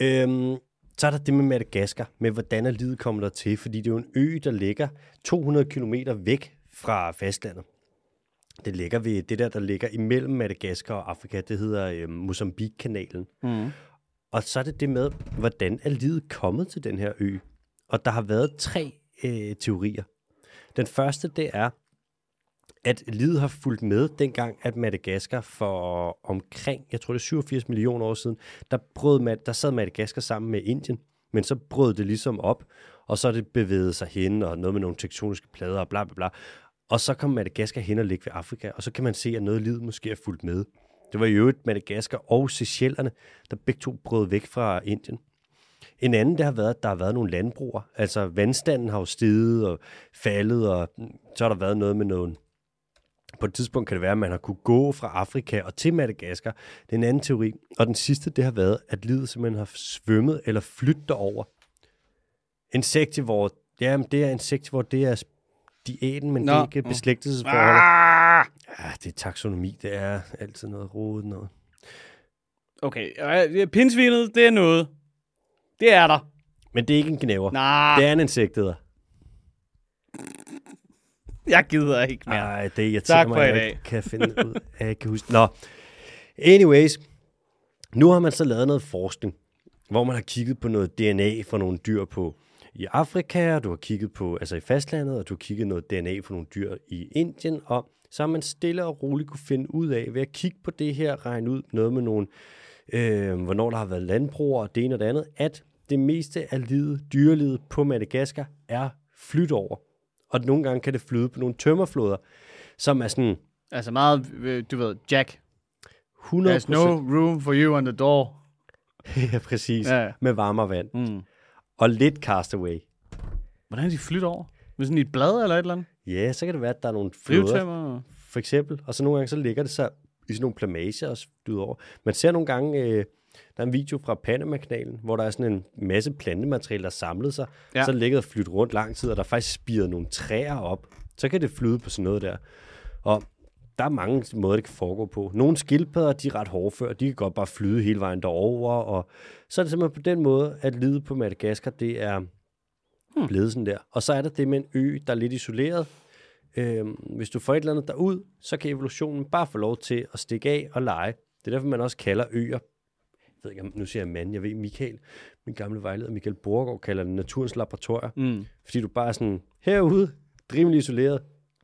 Speaker 1: Øhm, så er der det med Madagaskar, med hvordan er livet kommer der til, fordi det er jo en ø, der ligger 200 km væk fra fastlandet. Det ligger ved det der, der ligger imellem Madagaskar og Afrika, det hedder øh, Mozambique-kanalen.
Speaker 2: Mm.
Speaker 1: Og så er det det med, hvordan er livet kommet til den her ø? Og der har været tre øh, teorier. Den første, det er, at livet har fulgt med dengang, at Madagaskar for omkring, jeg tror det er 87 millioner år siden, der, brød, Mad- der sad Madagaskar sammen med Indien, men så brød det ligesom op, og så er det bevæget sig hen, og noget med nogle tektoniske plader og bla bla bla. Og så kom Madagaskar hen og ligge ved Afrika, og så kan man se, at noget liv måske er fulgt med. Det var i øvrigt Madagaskar og Seychellerne, der begge to brød væk fra Indien. En anden, det har været, at der har været nogle landbruger. Altså, vandstanden har jo steget og faldet, og mm, så har der været noget med nogen. På et tidspunkt kan det være, at man har kunne gå fra Afrika og til Madagaskar. Det er en anden teori. Og den sidste, det har været, at livet simpelthen har svømmet eller flyttet derover. Insektivore. Jamen, det er insektivore, det er diæten, men Nå. det
Speaker 2: Nå.
Speaker 1: er ikke
Speaker 2: Nå.
Speaker 1: beslægtelsesforholdet.
Speaker 2: Ah!
Speaker 1: Ja, det er taksonomi, det er altid noget rodet noget.
Speaker 2: Okay, øh, pindsvinet, det er noget. Det er der.
Speaker 1: Men det er ikke en gnæver.
Speaker 2: Nej,
Speaker 1: Det er en insekt, det
Speaker 2: jeg gider ikke mere.
Speaker 1: Nej, det
Speaker 2: Tak
Speaker 1: irriterer
Speaker 2: for
Speaker 1: mig, at
Speaker 2: i
Speaker 1: jeg
Speaker 2: dag.
Speaker 1: ikke kan finde ud af, jeg kan huske. Nå, anyways. Nu har man så lavet noget forskning, hvor man har kigget på noget DNA fra nogle dyr på i Afrika, og du har kigget på, altså i fastlandet, og du har kigget noget DNA fra nogle dyr i Indien, og så har man stille og roligt kunne finde ud af, ved at kigge på det her, regne ud noget med nogle, øh, hvornår der har været landbrug og det ene og det andet, at det meste af livet, dyrelivet på Madagaskar er flyt over. Og nogle gange kan det flyde på nogle tømmerfloder, som er sådan
Speaker 2: Altså meget, øh, du ved, Jack.
Speaker 1: 100
Speaker 2: There's no room for you on the door.
Speaker 1: ja, præcis,
Speaker 2: Ja.
Speaker 1: ja. med varmere vand.
Speaker 2: Mm.
Speaker 1: Og lidt castaway.
Speaker 2: Hvordan er de flyttet over? Med sådan et blad eller et eller andet?
Speaker 1: Ja, så kan det være, at der er nogle floder,
Speaker 2: Drivtømmer?
Speaker 1: for eksempel. Og så nogle gange, så ligger det sig i sådan nogle plamager og flyder over. Man ser nogle gange, øh, der er en video fra Panama-kanalen, hvor der er sådan en masse plantemateriale, der samlede sig.
Speaker 2: Ja.
Speaker 1: Ja. Så ligger det flyttet rundt lang tid, og der er faktisk spiret nogle træer op. Så kan det flyde på sådan noget der. Og der er mange måder, det kan foregå på. Nogle skildpadder, de er ret hårdføre, de kan godt bare flyde hele vejen derover, og så er det simpelthen på den måde, at livet på Madagaskar, det er hmm. blevet sådan der. Og så er der det med en ø, der er lidt isoleret. Øhm, hvis du får et eller andet derud, så kan evolutionen bare få lov til at stikke af og lege. Det er derfor, man også kalder øer. Jeg ved ikke, om nu siger jeg mand, jeg ved Michael, min gamle vejleder Michael Borgård, kalder det naturens laboratorier.
Speaker 2: Mm.
Speaker 1: Fordi du bare er sådan, herude, rimelig isoleret,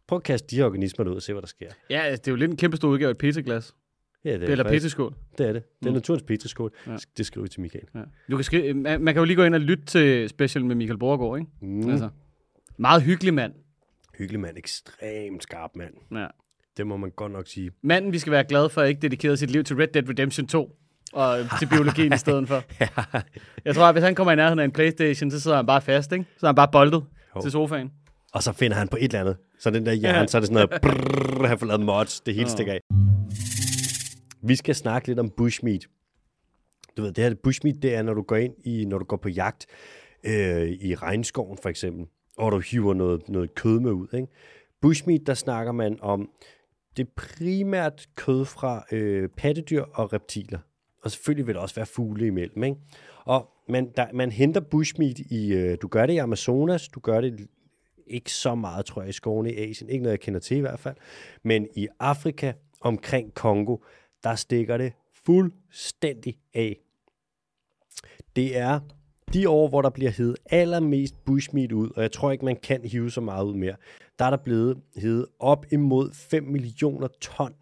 Speaker 1: prøv at kaste de her organismer ud og se, hvad der sker.
Speaker 2: Ja, altså, det er jo lidt en kæmpe stor udgave af et peteglas.
Speaker 1: Ja, det er
Speaker 2: Eller
Speaker 1: faktisk-
Speaker 2: peteskål.
Speaker 1: Det er det. Det er naturens petriskål.
Speaker 2: Ja.
Speaker 1: Ja. Det skriver vi til Michael.
Speaker 2: Ja. Du kan skrive, man, man, kan jo lige gå ind og lytte til special med Michael Borgård, ikke?
Speaker 1: Mm. Altså.
Speaker 2: Altså, meget hyggelig mand.
Speaker 1: Hyggelig mand. Ekstremt skarp mand.
Speaker 2: Ja.
Speaker 1: Det må man godt nok sige.
Speaker 2: Manden, vi skal være glade for, ikke dedikerede sit liv til Red Dead Redemption 2 og til biologien i stedet for. Jeg tror, at hvis han kommer i nærheden af en Playstation, så sidder han bare fast, ikke? Så er han bare boldet
Speaker 1: Jo.
Speaker 2: til sofaen.
Speaker 1: Og så finder han på et eller andet. Så den der hjerne,
Speaker 2: Ja.
Speaker 1: ja. så er det sådan noget, brrr, han får lavet mods, det hele stikker af. Vi skal snakke lidt om bushmeat. Du ved, det her bushmeat, det er, når du går ind i, når du går på jagt øh, i regnskoven for eksempel, og du hiver noget, noget kød med ud. Ikke? Bushmeat, der snakker man om det er primært kød fra øh, pattedyr og reptiler. Og selvfølgelig vil der også være fugle imellem. Ikke? Og man, der, man henter bushmeat i, øh, du gør det i Amazonas, du gør det ikke så meget, tror jeg, i skovene i Asien. Ikke noget, jeg kender til i hvert fald. Men i Afrika, omkring Kongo, der stikker det fuldstændig af. Det er de år, hvor der bliver hivet allermest bushmeat ud, og jeg tror ikke, man kan hive så meget ud mere, der er der blevet hivet op imod 5 millioner ton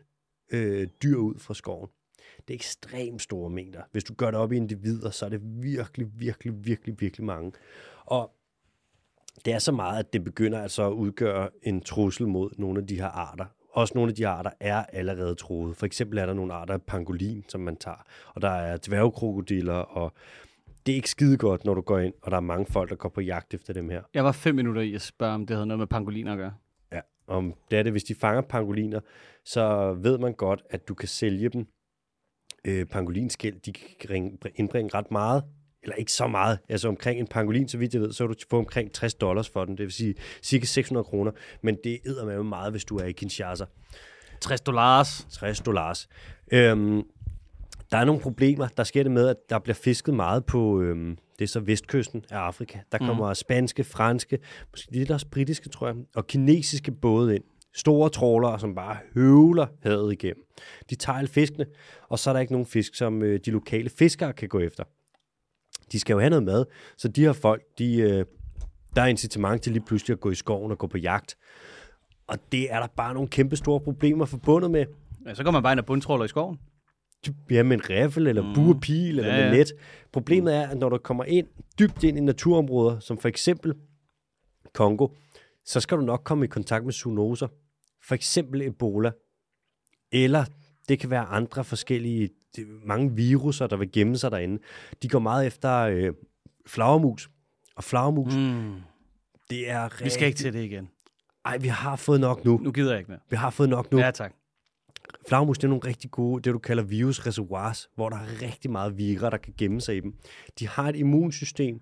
Speaker 1: øh, dyr ud fra skoven. Det er ekstremt store mængder. Hvis du gør det op i individer, så er det virkelig, virkelig, virkelig, virkelig mange. Og det er så meget, at det begynder altså at udgøre en trussel mod nogle af de her arter. Også nogle af de her arter er allerede troet. For eksempel er der nogle arter af pangolin, som man tager. Og der er dværgkrokodiller, og det er ikke skide godt, når du går ind, og der er mange folk, der går på jagt efter dem her.
Speaker 2: Jeg var fem minutter i at spørge, om det havde noget med pangoliner at gøre.
Speaker 1: Ja, om det er det, hvis de fanger pangoliner, så ved man godt, at du kan sælge dem. Øh, pangolinskæld, de kan ring- indbringe ret meget, eller ikke så meget. Altså omkring en pangolin, så vidt jeg ved, så vil du få omkring 60 dollars for den, det vil sige cirka 600 kroner, men det æder med meget, hvis du er i Kinshasa.
Speaker 2: 60 dollars.
Speaker 1: 60 dollars. Øhm, der er nogle problemer. Der sker det med, at der bliver fisket meget på, øhm, det er så vestkysten af Afrika. Der kommer mm. spanske, franske, måske lidt også britiske, tror jeg, og kinesiske både ind. Store trålere, som bare høvler havet igennem. De tager alle fiskene, og så er der ikke nogen fisk, som øh, de lokale fiskere kan gå efter. De skal jo have noget mad, så de her folk, de, øh, der er incitament til lige pludselig at gå i skoven og gå på jagt. Og det er der bare nogle kæmpe store problemer forbundet med.
Speaker 2: Ja, så går man bare ind og bundtråler i skoven.
Speaker 1: Ja, med en riffel, eller mm. buerpil, eller
Speaker 2: Ja,
Speaker 1: ja, ja.
Speaker 2: ja. Mm.
Speaker 1: med net. Problemet er, at når du kommer ind, dybt ind i naturområder, som for eksempel Kongo, så skal du nok komme i kontakt med zoonoser. For eksempel Ebola. Eller det kan være andre forskellige, det- mange viruser, der vil gemme sig derinde. De går meget efter øh, flagermus. Og flagermus, mm.
Speaker 2: Mm.
Speaker 1: det er...
Speaker 2: Vi skal ikke til det igen.
Speaker 1: Ej, vi har fået nok nu.
Speaker 2: Nu gider jeg ikke mere.
Speaker 1: Vi har fået nok nu.
Speaker 2: Ja, tak.
Speaker 1: Flagmus, det er nogle rigtig gode, det du kalder virusreservoirs, hvor der er rigtig meget virer, der kan gemme sig i dem. De har et immunsystem,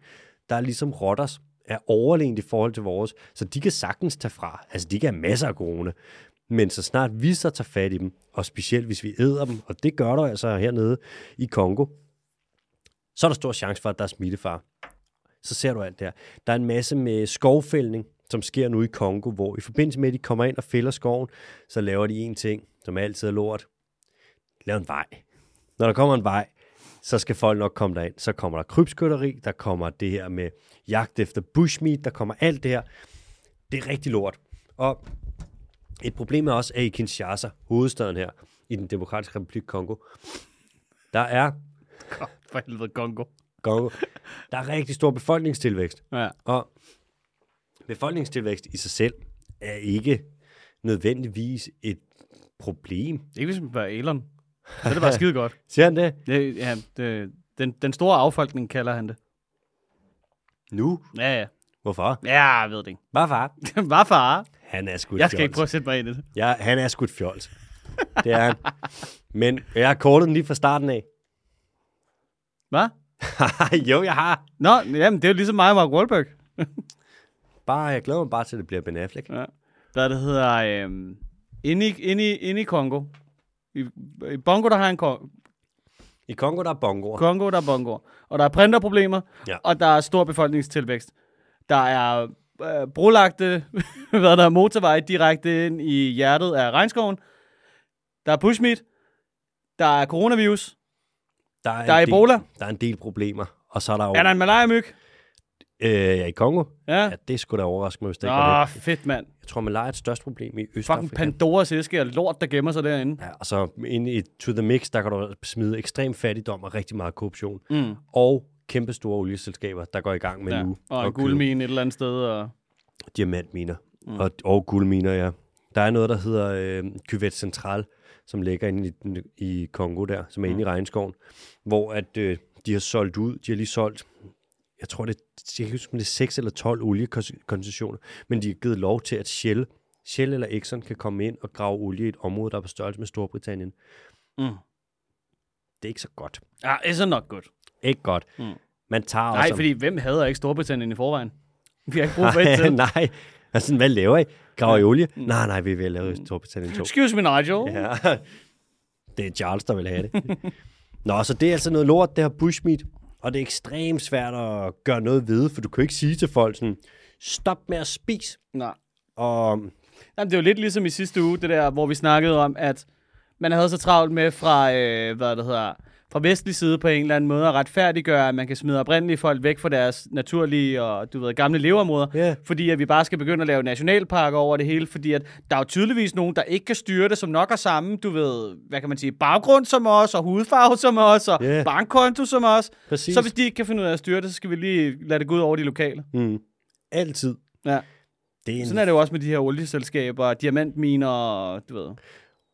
Speaker 1: der er ligesom rotters, er overlegent i forhold til vores, så de kan sagtens tage fra. Altså, de kan have masser af corona. Men så snart vi så tager fat i dem, og specielt hvis vi æder dem, og det gør der altså hernede i Kongo, så er der stor chance for, at der er smittefar. Så ser du alt det her. Der er en masse med skovfældning, som sker nu i Kongo, hvor i forbindelse med, at de kommer ind og fælder skoven, så laver de en ting, som altid er lort. Lav en vej. Når der kommer en vej, så skal folk nok komme derind. Så kommer der krybskytteri, der kommer det her med jagt efter bushmeat, der kommer alt det her. Det er rigtig lort. Og et problem er også, at i Kinshasa, hovedstaden her, i den demokratiske republik Kongo, der er
Speaker 2: Godt for helvede, Kongo.
Speaker 1: Kongo. Der er rigtig stor befolkningstilvækst.
Speaker 2: Ja.
Speaker 1: Og befolkningstilvækst i sig selv er ikke nødvendigvis et problem.
Speaker 2: Ikke hvis man spørger Elon. Så er det bare skide godt.
Speaker 1: Ser han det?
Speaker 2: Det, ja, det, den, den store affolkning kalder han det.
Speaker 1: Nu?
Speaker 2: Ja, ja.
Speaker 1: Hvorfor?
Speaker 2: Ja, jeg ved det ikke.
Speaker 1: Hvorfor?
Speaker 2: Hvad far?
Speaker 1: Han er sgu et
Speaker 2: Jeg skal
Speaker 1: fjols.
Speaker 2: ikke prøve at sætte mig ind i det.
Speaker 1: Ja, han er sgu et fjols. Det er han. Men jeg har kortet den lige fra starten af.
Speaker 2: Hvad?
Speaker 1: jo, jeg har.
Speaker 2: Nå, jamen, det er jo ligesom mig og Mark Wahlberg.
Speaker 1: Bare, jeg glæder mig bare til, at det bliver Ben Affleck.
Speaker 2: Ja. Der, der hedder... Øhm, inde, i, inde, i, inde i Kongo. I, I Bongo, der har en ko-
Speaker 1: I Kongo, der er bongoer.
Speaker 2: Kongo, der er Bongo. Og der er printerproblemer,
Speaker 1: Ja.
Speaker 2: og der er stor befolkningstilvækst. Der er øh, brolagte, hvad der er motorvej direkte ind i hjertet af regnskoven. Der er pushmeat. Der er coronavirus.
Speaker 1: Der er, en
Speaker 2: Der er
Speaker 1: del-
Speaker 2: Ebola.
Speaker 1: Der er en del problemer. Og så er der jo...
Speaker 2: Er der en malariamyg?
Speaker 1: Øh, ja, i Kongo.
Speaker 2: Ja.
Speaker 1: Ja, det skulle da overraske mig, hvis det ikke var det.
Speaker 2: Åh, oh, fedt mand.
Speaker 1: Jeg tror, malaria er et størst problem i
Speaker 2: Fucking
Speaker 1: Østafrika.
Speaker 2: Pandoras æske og lort, der gemmer sig derinde.
Speaker 1: Ja, og så ind i To The Mix, der kan du smide ekstrem fattigdom og rigtig meget korruption.
Speaker 2: Mm.
Speaker 1: Og kæmpe store olieselskaber, der går i gang med
Speaker 2: Ja.
Speaker 1: nu.
Speaker 2: Og en
Speaker 1: at købe
Speaker 2: guldmine et eller andet sted. Og...
Speaker 1: Diamantminer. Mm. Og, og guldminer, ja. Der er noget, der hedder øh, Cuvette Central, som ligger inde i, den- i Kongo der, som er mm. inde i regnskoven, hvor at øh, de har solgt ud, de har lige solgt, jeg tror det, er- jeg kan ikke huske, om det er 6 eller 12 oliekoncessioner, men de har givet lov til, at Shell, Shell eller Exxon kan komme ind og grave olie i et område, der er på størrelse med Storbritannien.
Speaker 2: Mm.
Speaker 1: Det er ikke så godt.
Speaker 2: Ja, it's not good.
Speaker 1: Ikke godt.
Speaker 2: Mm.
Speaker 1: Man tager
Speaker 2: Nej,
Speaker 1: også...
Speaker 2: fordi hvem hader ikke Storbritannien i forvejen? Vi har ikke brug for et til.
Speaker 1: nej, altså, hvad laver I? Graver i olie? Mm. Nej, nej, vi vil lave mm. Storbritannien 2.
Speaker 2: Excuse me, Nigel. Ja.
Speaker 1: Ja. Det er Charles, der vil have det. Nå, så det er altså noget lort, det her bushmeat. Og det er ekstremt svært at gøre noget ved, for du kan jo ikke sige til folk sådan, stop med at spise.
Speaker 2: Nej.
Speaker 1: Og
Speaker 2: Jamen, det er jo lidt ligesom i sidste uge, det der, hvor vi snakkede om, at man havde så travlt med fra, øh, hvad det hedder, fra vestlig side på en eller anden måde at retfærdiggøre, at man kan smide oprindelige folk væk fra deres naturlige og du ved, gamle leveområder,
Speaker 1: Ja.
Speaker 2: fordi at vi bare skal begynde at lave nationalparker over det hele, fordi at der er jo tydeligvis nogen, der ikke kan styre det, som nok er samme, du ved, hvad kan man sige, baggrund som os, og hudfarve som os, og
Speaker 1: Ja.
Speaker 2: yeah. bankkonto som os.
Speaker 1: Præcis.
Speaker 2: Så hvis de ikke kan finde ud af at styre det, så skal vi lige lade det gå ud over de lokale.
Speaker 1: mm, altid.
Speaker 2: Ja.
Speaker 1: Det er en
Speaker 2: Sådan er det jo også med de her olieselskaber, diamantminer, og du ved.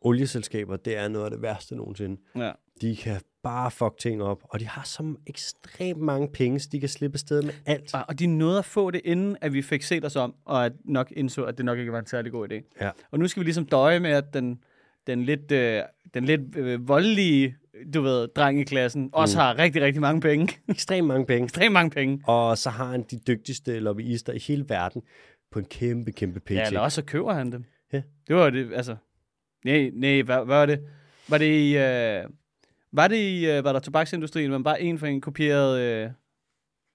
Speaker 1: olieselskaber, det er noget af det værste nogensinde.
Speaker 2: Ja.
Speaker 1: De kan bare fuck ting op, og de har så ekstremt mange penge, så de kan slippe afsted med alt.
Speaker 2: Ah, Og og de nåede at få det, inden at vi fik set os om, og at nok indså, at det nok ikke var en særlig god idé.
Speaker 1: Ja.
Speaker 2: Og nu skal vi ligesom døje med, at den, den lidt, øh, den lidt øh, voldelige, du ved, dreng i klassen, også har rigtig, rigtig mange penge.
Speaker 1: Ekstremt mange penge.
Speaker 2: Ekstremt mange penge.
Speaker 1: Og så har han de dygtigste lobbyister i hele verden på en kæmpe, kæmpe
Speaker 2: Ja,
Speaker 1: paycheck.
Speaker 2: eller også så køber han dem.
Speaker 1: Ja.
Speaker 2: Det var jo det, altså... Nej, nej, hvad, hvad var det? Var det i... Øh, var det i, øh, var der tobaksindustrien, man bare en for en kopierede, øh,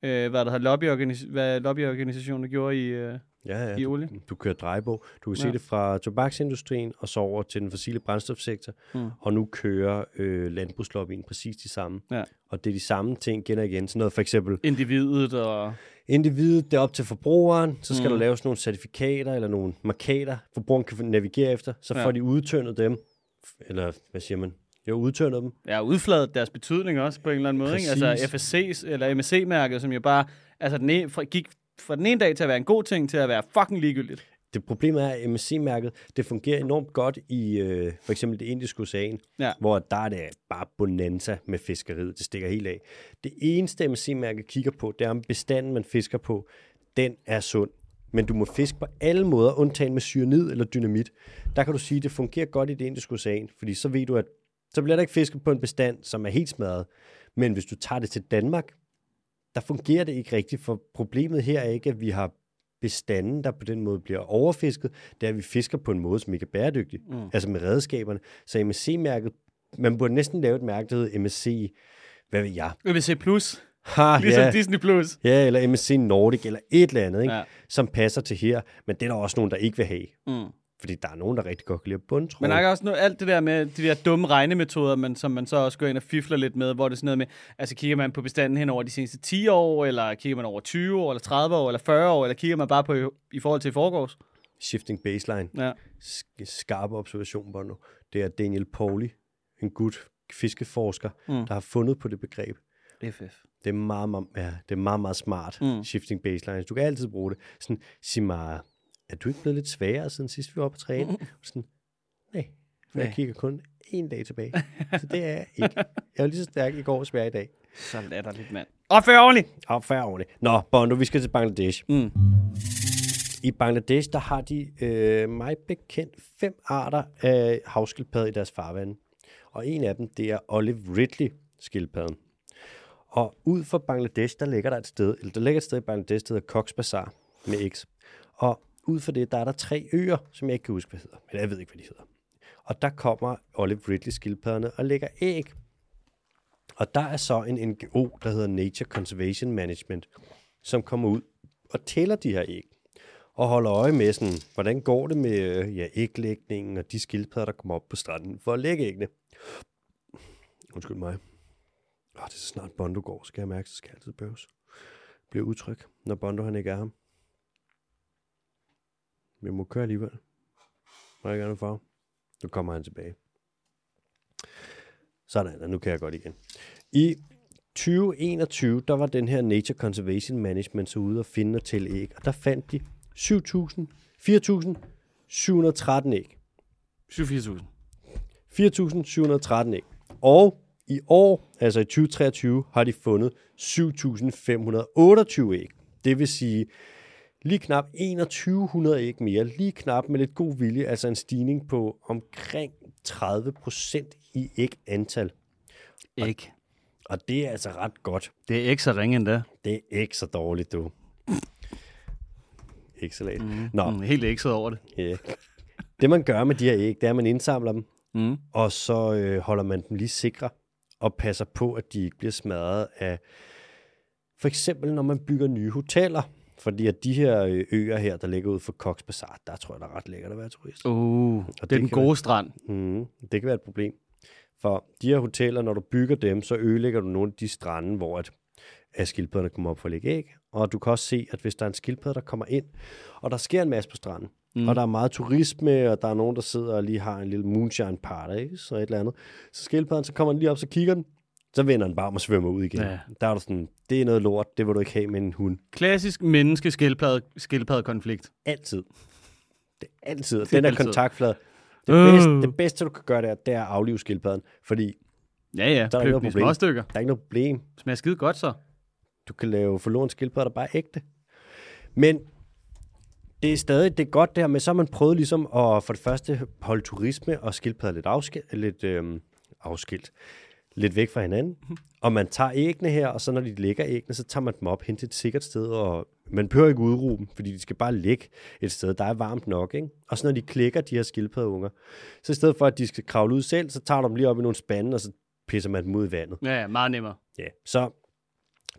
Speaker 2: øh, hvad der hedder, lobbyorganis- hvad lobbyorganisationen gjorde i... Øh,
Speaker 1: ja, ja,
Speaker 2: i
Speaker 1: du,
Speaker 2: olie.
Speaker 1: du kører drejebog. Du kan ja. se
Speaker 2: Ja.
Speaker 1: det fra tobaksindustrien og så over til den fossile brændstofsektor.
Speaker 2: Mm.
Speaker 1: Og nu kører øh, landbrugslobbyen præcis de samme.
Speaker 2: Ja.
Speaker 1: Og det er de samme ting igen og igen. Sådan noget for eksempel
Speaker 2: individet og...
Speaker 1: individet, det er op til forbrugeren, så skal mm. der laves nogle certifikater eller nogle markater, forbrugeren kan navigere efter, så ja.
Speaker 2: Ja.
Speaker 1: får de udtyndet dem, eller hvad siger man, jo udtyndet dem,
Speaker 2: Ja, udfladet deres betydning også på en eller anden måde. Ikke? Altså
Speaker 1: Præcis.
Speaker 2: FSC's eller MSC-mærket, som jo bare altså den ene, fra, gik fra den ene dag til at være en god ting, til at være fucking ligegyldigt.
Speaker 1: Det problemet er, at MSC-mærket, det fungerer enormt godt i øh, for eksempel det indiske ocean,
Speaker 2: Ja.
Speaker 1: hvor der er det bare bonanza med fiskeriet. Det stikker helt af. Det eneste, MSC-mærket kigger på, det er, om bestanden, man fisker på, den er sund. Men du må fiske på alle måder, undtagen med cyanid eller dynamit. Der kan du sige, at det fungerer godt i det indiske ocean, fordi så ved du, at så bliver der ikke fisket på en bestand, som er helt smadret. Men hvis du tager det til Danmark, der fungerer det ikke rigtigt, for problemet her er ikke, at vi har bestanden, der på den måde bliver overfisket, det er, at vi fisker på en måde, som ikke er bæredygtig, mm. altså med redskaberne. Så MSC-mærket, man burde næsten lave et mærke, der hedder MSC, hvad ved jeg?
Speaker 2: MSC Plus,
Speaker 1: Ha,
Speaker 2: ligesom
Speaker 1: ja.
Speaker 2: Disney Plus.
Speaker 1: ja, eller MSC Nordic, eller et eller andet, ikke? Ja.
Speaker 2: Ja.
Speaker 1: som passer til her, men det er der også nogen, der ikke vil have,
Speaker 2: Mm.
Speaker 1: fordi der er nogen, der rigtig godt kan lide bundtråd.
Speaker 2: Men der er også noget, alt det der med de der dumme regnemetoder, men, som man så også går ind og fifler lidt med, hvor det er sådan noget med, altså kigger man på bestanden hen over de seneste 10 år, eller kigger man over 20 år, eller 30 år, eller 40 år, eller kigger man bare på i, i forhold til i forgårs?
Speaker 1: Shifting baseline.
Speaker 2: Ja.
Speaker 1: sk- skarpe observation, Bono, det er Daniel Pauli, en gut fiskeforsker, mm. der har fundet på det begreb.
Speaker 2: FF.
Speaker 1: Det er meget, meget, ja, det er meget, meget smart, mm. shifting baselines. Du kan altid bruge det. Sådan, sig mig, er du ikke blevet lidt sværere, siden sidst vi var oppe at træne? Mm. Sådan, nej, for jeg
Speaker 2: Nej.
Speaker 1: kigger kun en dag tilbage. Så det er jeg ikke. Jeg var lige så stærk i går, som jeg er i dag.
Speaker 2: Så latterligt, mand. Opfør ordentligt!
Speaker 1: Opfærd ordentligt. Nå, Bono, vi skal til Bangladesh.
Speaker 2: Mm.
Speaker 1: I Bangladesh, der har de øh, mig bekendt fem arter af havskildpadde i deres farvande. Og en af dem, det er Olive Ridley skildpadden. Og ud for Bangladesh, der ligger der et sted, eller der ligger et sted i Bangladesh, der hedder Cox's Bazaar med X. Og ud for det, der er der tre øer, som jeg ikke kan huske, hvad hedder. Men jeg ved ikke, hvad de hedder. Og der kommer Olive Ridley skildpadderne og lægger æg. Og der er så en NGO, der hedder Nature Conservation Management, som kommer ud og tæller de her æg og holder øje med, sådan, hvordan går det med øh, ja, æglægningen og de skildpadder, der kommer op på stranden for at lægge æggene. Undskyld mig. Oh, det er så snart Bondo går, skal jeg mærke, så skal jeg altid bøves. Bliver utryg, når Bondo han ikke er ham. Men jeg må køre alligevel. Må jeg gerne far? Nu kommer han tilbage. Sådan, og nu kan jeg godt igen. I 2021, der var den her Nature Conservation Management så ude og finde og tælle æg, og der fandt de 7.000, 4.713 æg.
Speaker 2: 87.000.
Speaker 1: 4.713 æg. Og i år, altså i 2023, har de fundet 7.528 æg. Det vil sige lige knap 2.100 æg mere. Lige knap med lidt god vilje, altså en stigning på omkring 30 procent i ægantal.
Speaker 2: Ikke.
Speaker 1: Og det er altså ret godt.
Speaker 2: Det er ikke så ringe endda.
Speaker 1: Det er ikke så dårligt, du. Ægsalat. Mm.
Speaker 2: Mm.
Speaker 1: Nå.
Speaker 2: Mm, helt ekset over det.
Speaker 1: Yeah. Det, man gør med de her æg, det er, at man indsamler dem,
Speaker 2: Mm.
Speaker 1: og så øh, holder man dem lige sikre og passer på, at de ikke bliver smadret af... For eksempel, når man bygger nye hoteller. Fordi at de her øh, øer her, der ligger ude for Cox Bazaar, der tror jeg, der er ret lækkert at være turist.
Speaker 2: Uh, det er
Speaker 1: det
Speaker 2: den
Speaker 1: kan
Speaker 2: gode strand.
Speaker 1: Mm, det kan være et problem. For de her hoteller, når du bygger dem, så ødelægger du nogle af de strande, hvor at, at skildpadderne kommer op for at lægge æg. Og du kan også se, at hvis der er en skildpadde, der kommer ind, og der sker en masse på stranden, mm. og der er meget turisme, og der er nogen, der sidder og lige har en lille moonshine party, så et eller andet. Så skildpadden, så kommer den lige op, så kigger den, så vender den bare om og svømmer ud igen.
Speaker 2: Ja.
Speaker 1: Ja. Der er du sådan, det er noget lort, det vil du ikke have med en hund.
Speaker 2: Klassisk menneske-skildpadde-konflikt.
Speaker 1: Altid. Det er altid. Den der
Speaker 2: altid.
Speaker 1: kontaktflade. Det,
Speaker 2: Øh.
Speaker 1: bedste, det bedste, du kan gøre, det er, det er at aflive skildpadden. Fordi
Speaker 2: Ja, ja.
Speaker 1: der
Speaker 2: Pløk den i
Speaker 1: noget problem.
Speaker 2: småstykker.
Speaker 1: Der er ikke noget problem.
Speaker 2: Smager skide godt så.
Speaker 1: Du kan lave forlorene skildpadder, der bare er ægte. Men det er stadig det er godt der, men så har man prøvet ligesom at for det første holde turisme og skildpadder lidt, afskilt, lidt øhm, afskilt. Lidt væk fra hinanden. Og man tager æggene her, og så når de ligger æggene, så tager man dem op hen til et sikkert sted, og man behøver ikke udruge dem, fordi de skal bare ligge et sted, der er varmt nok. Ikke? Og så når de klikker, de her skildpaddeunger, så i stedet for, at de skal kravle ud selv, så tager du dem lige op i nogle spande, og så pisser man dem ud i vandet.
Speaker 2: Ja, ja, meget nemmere.
Speaker 1: Ja, så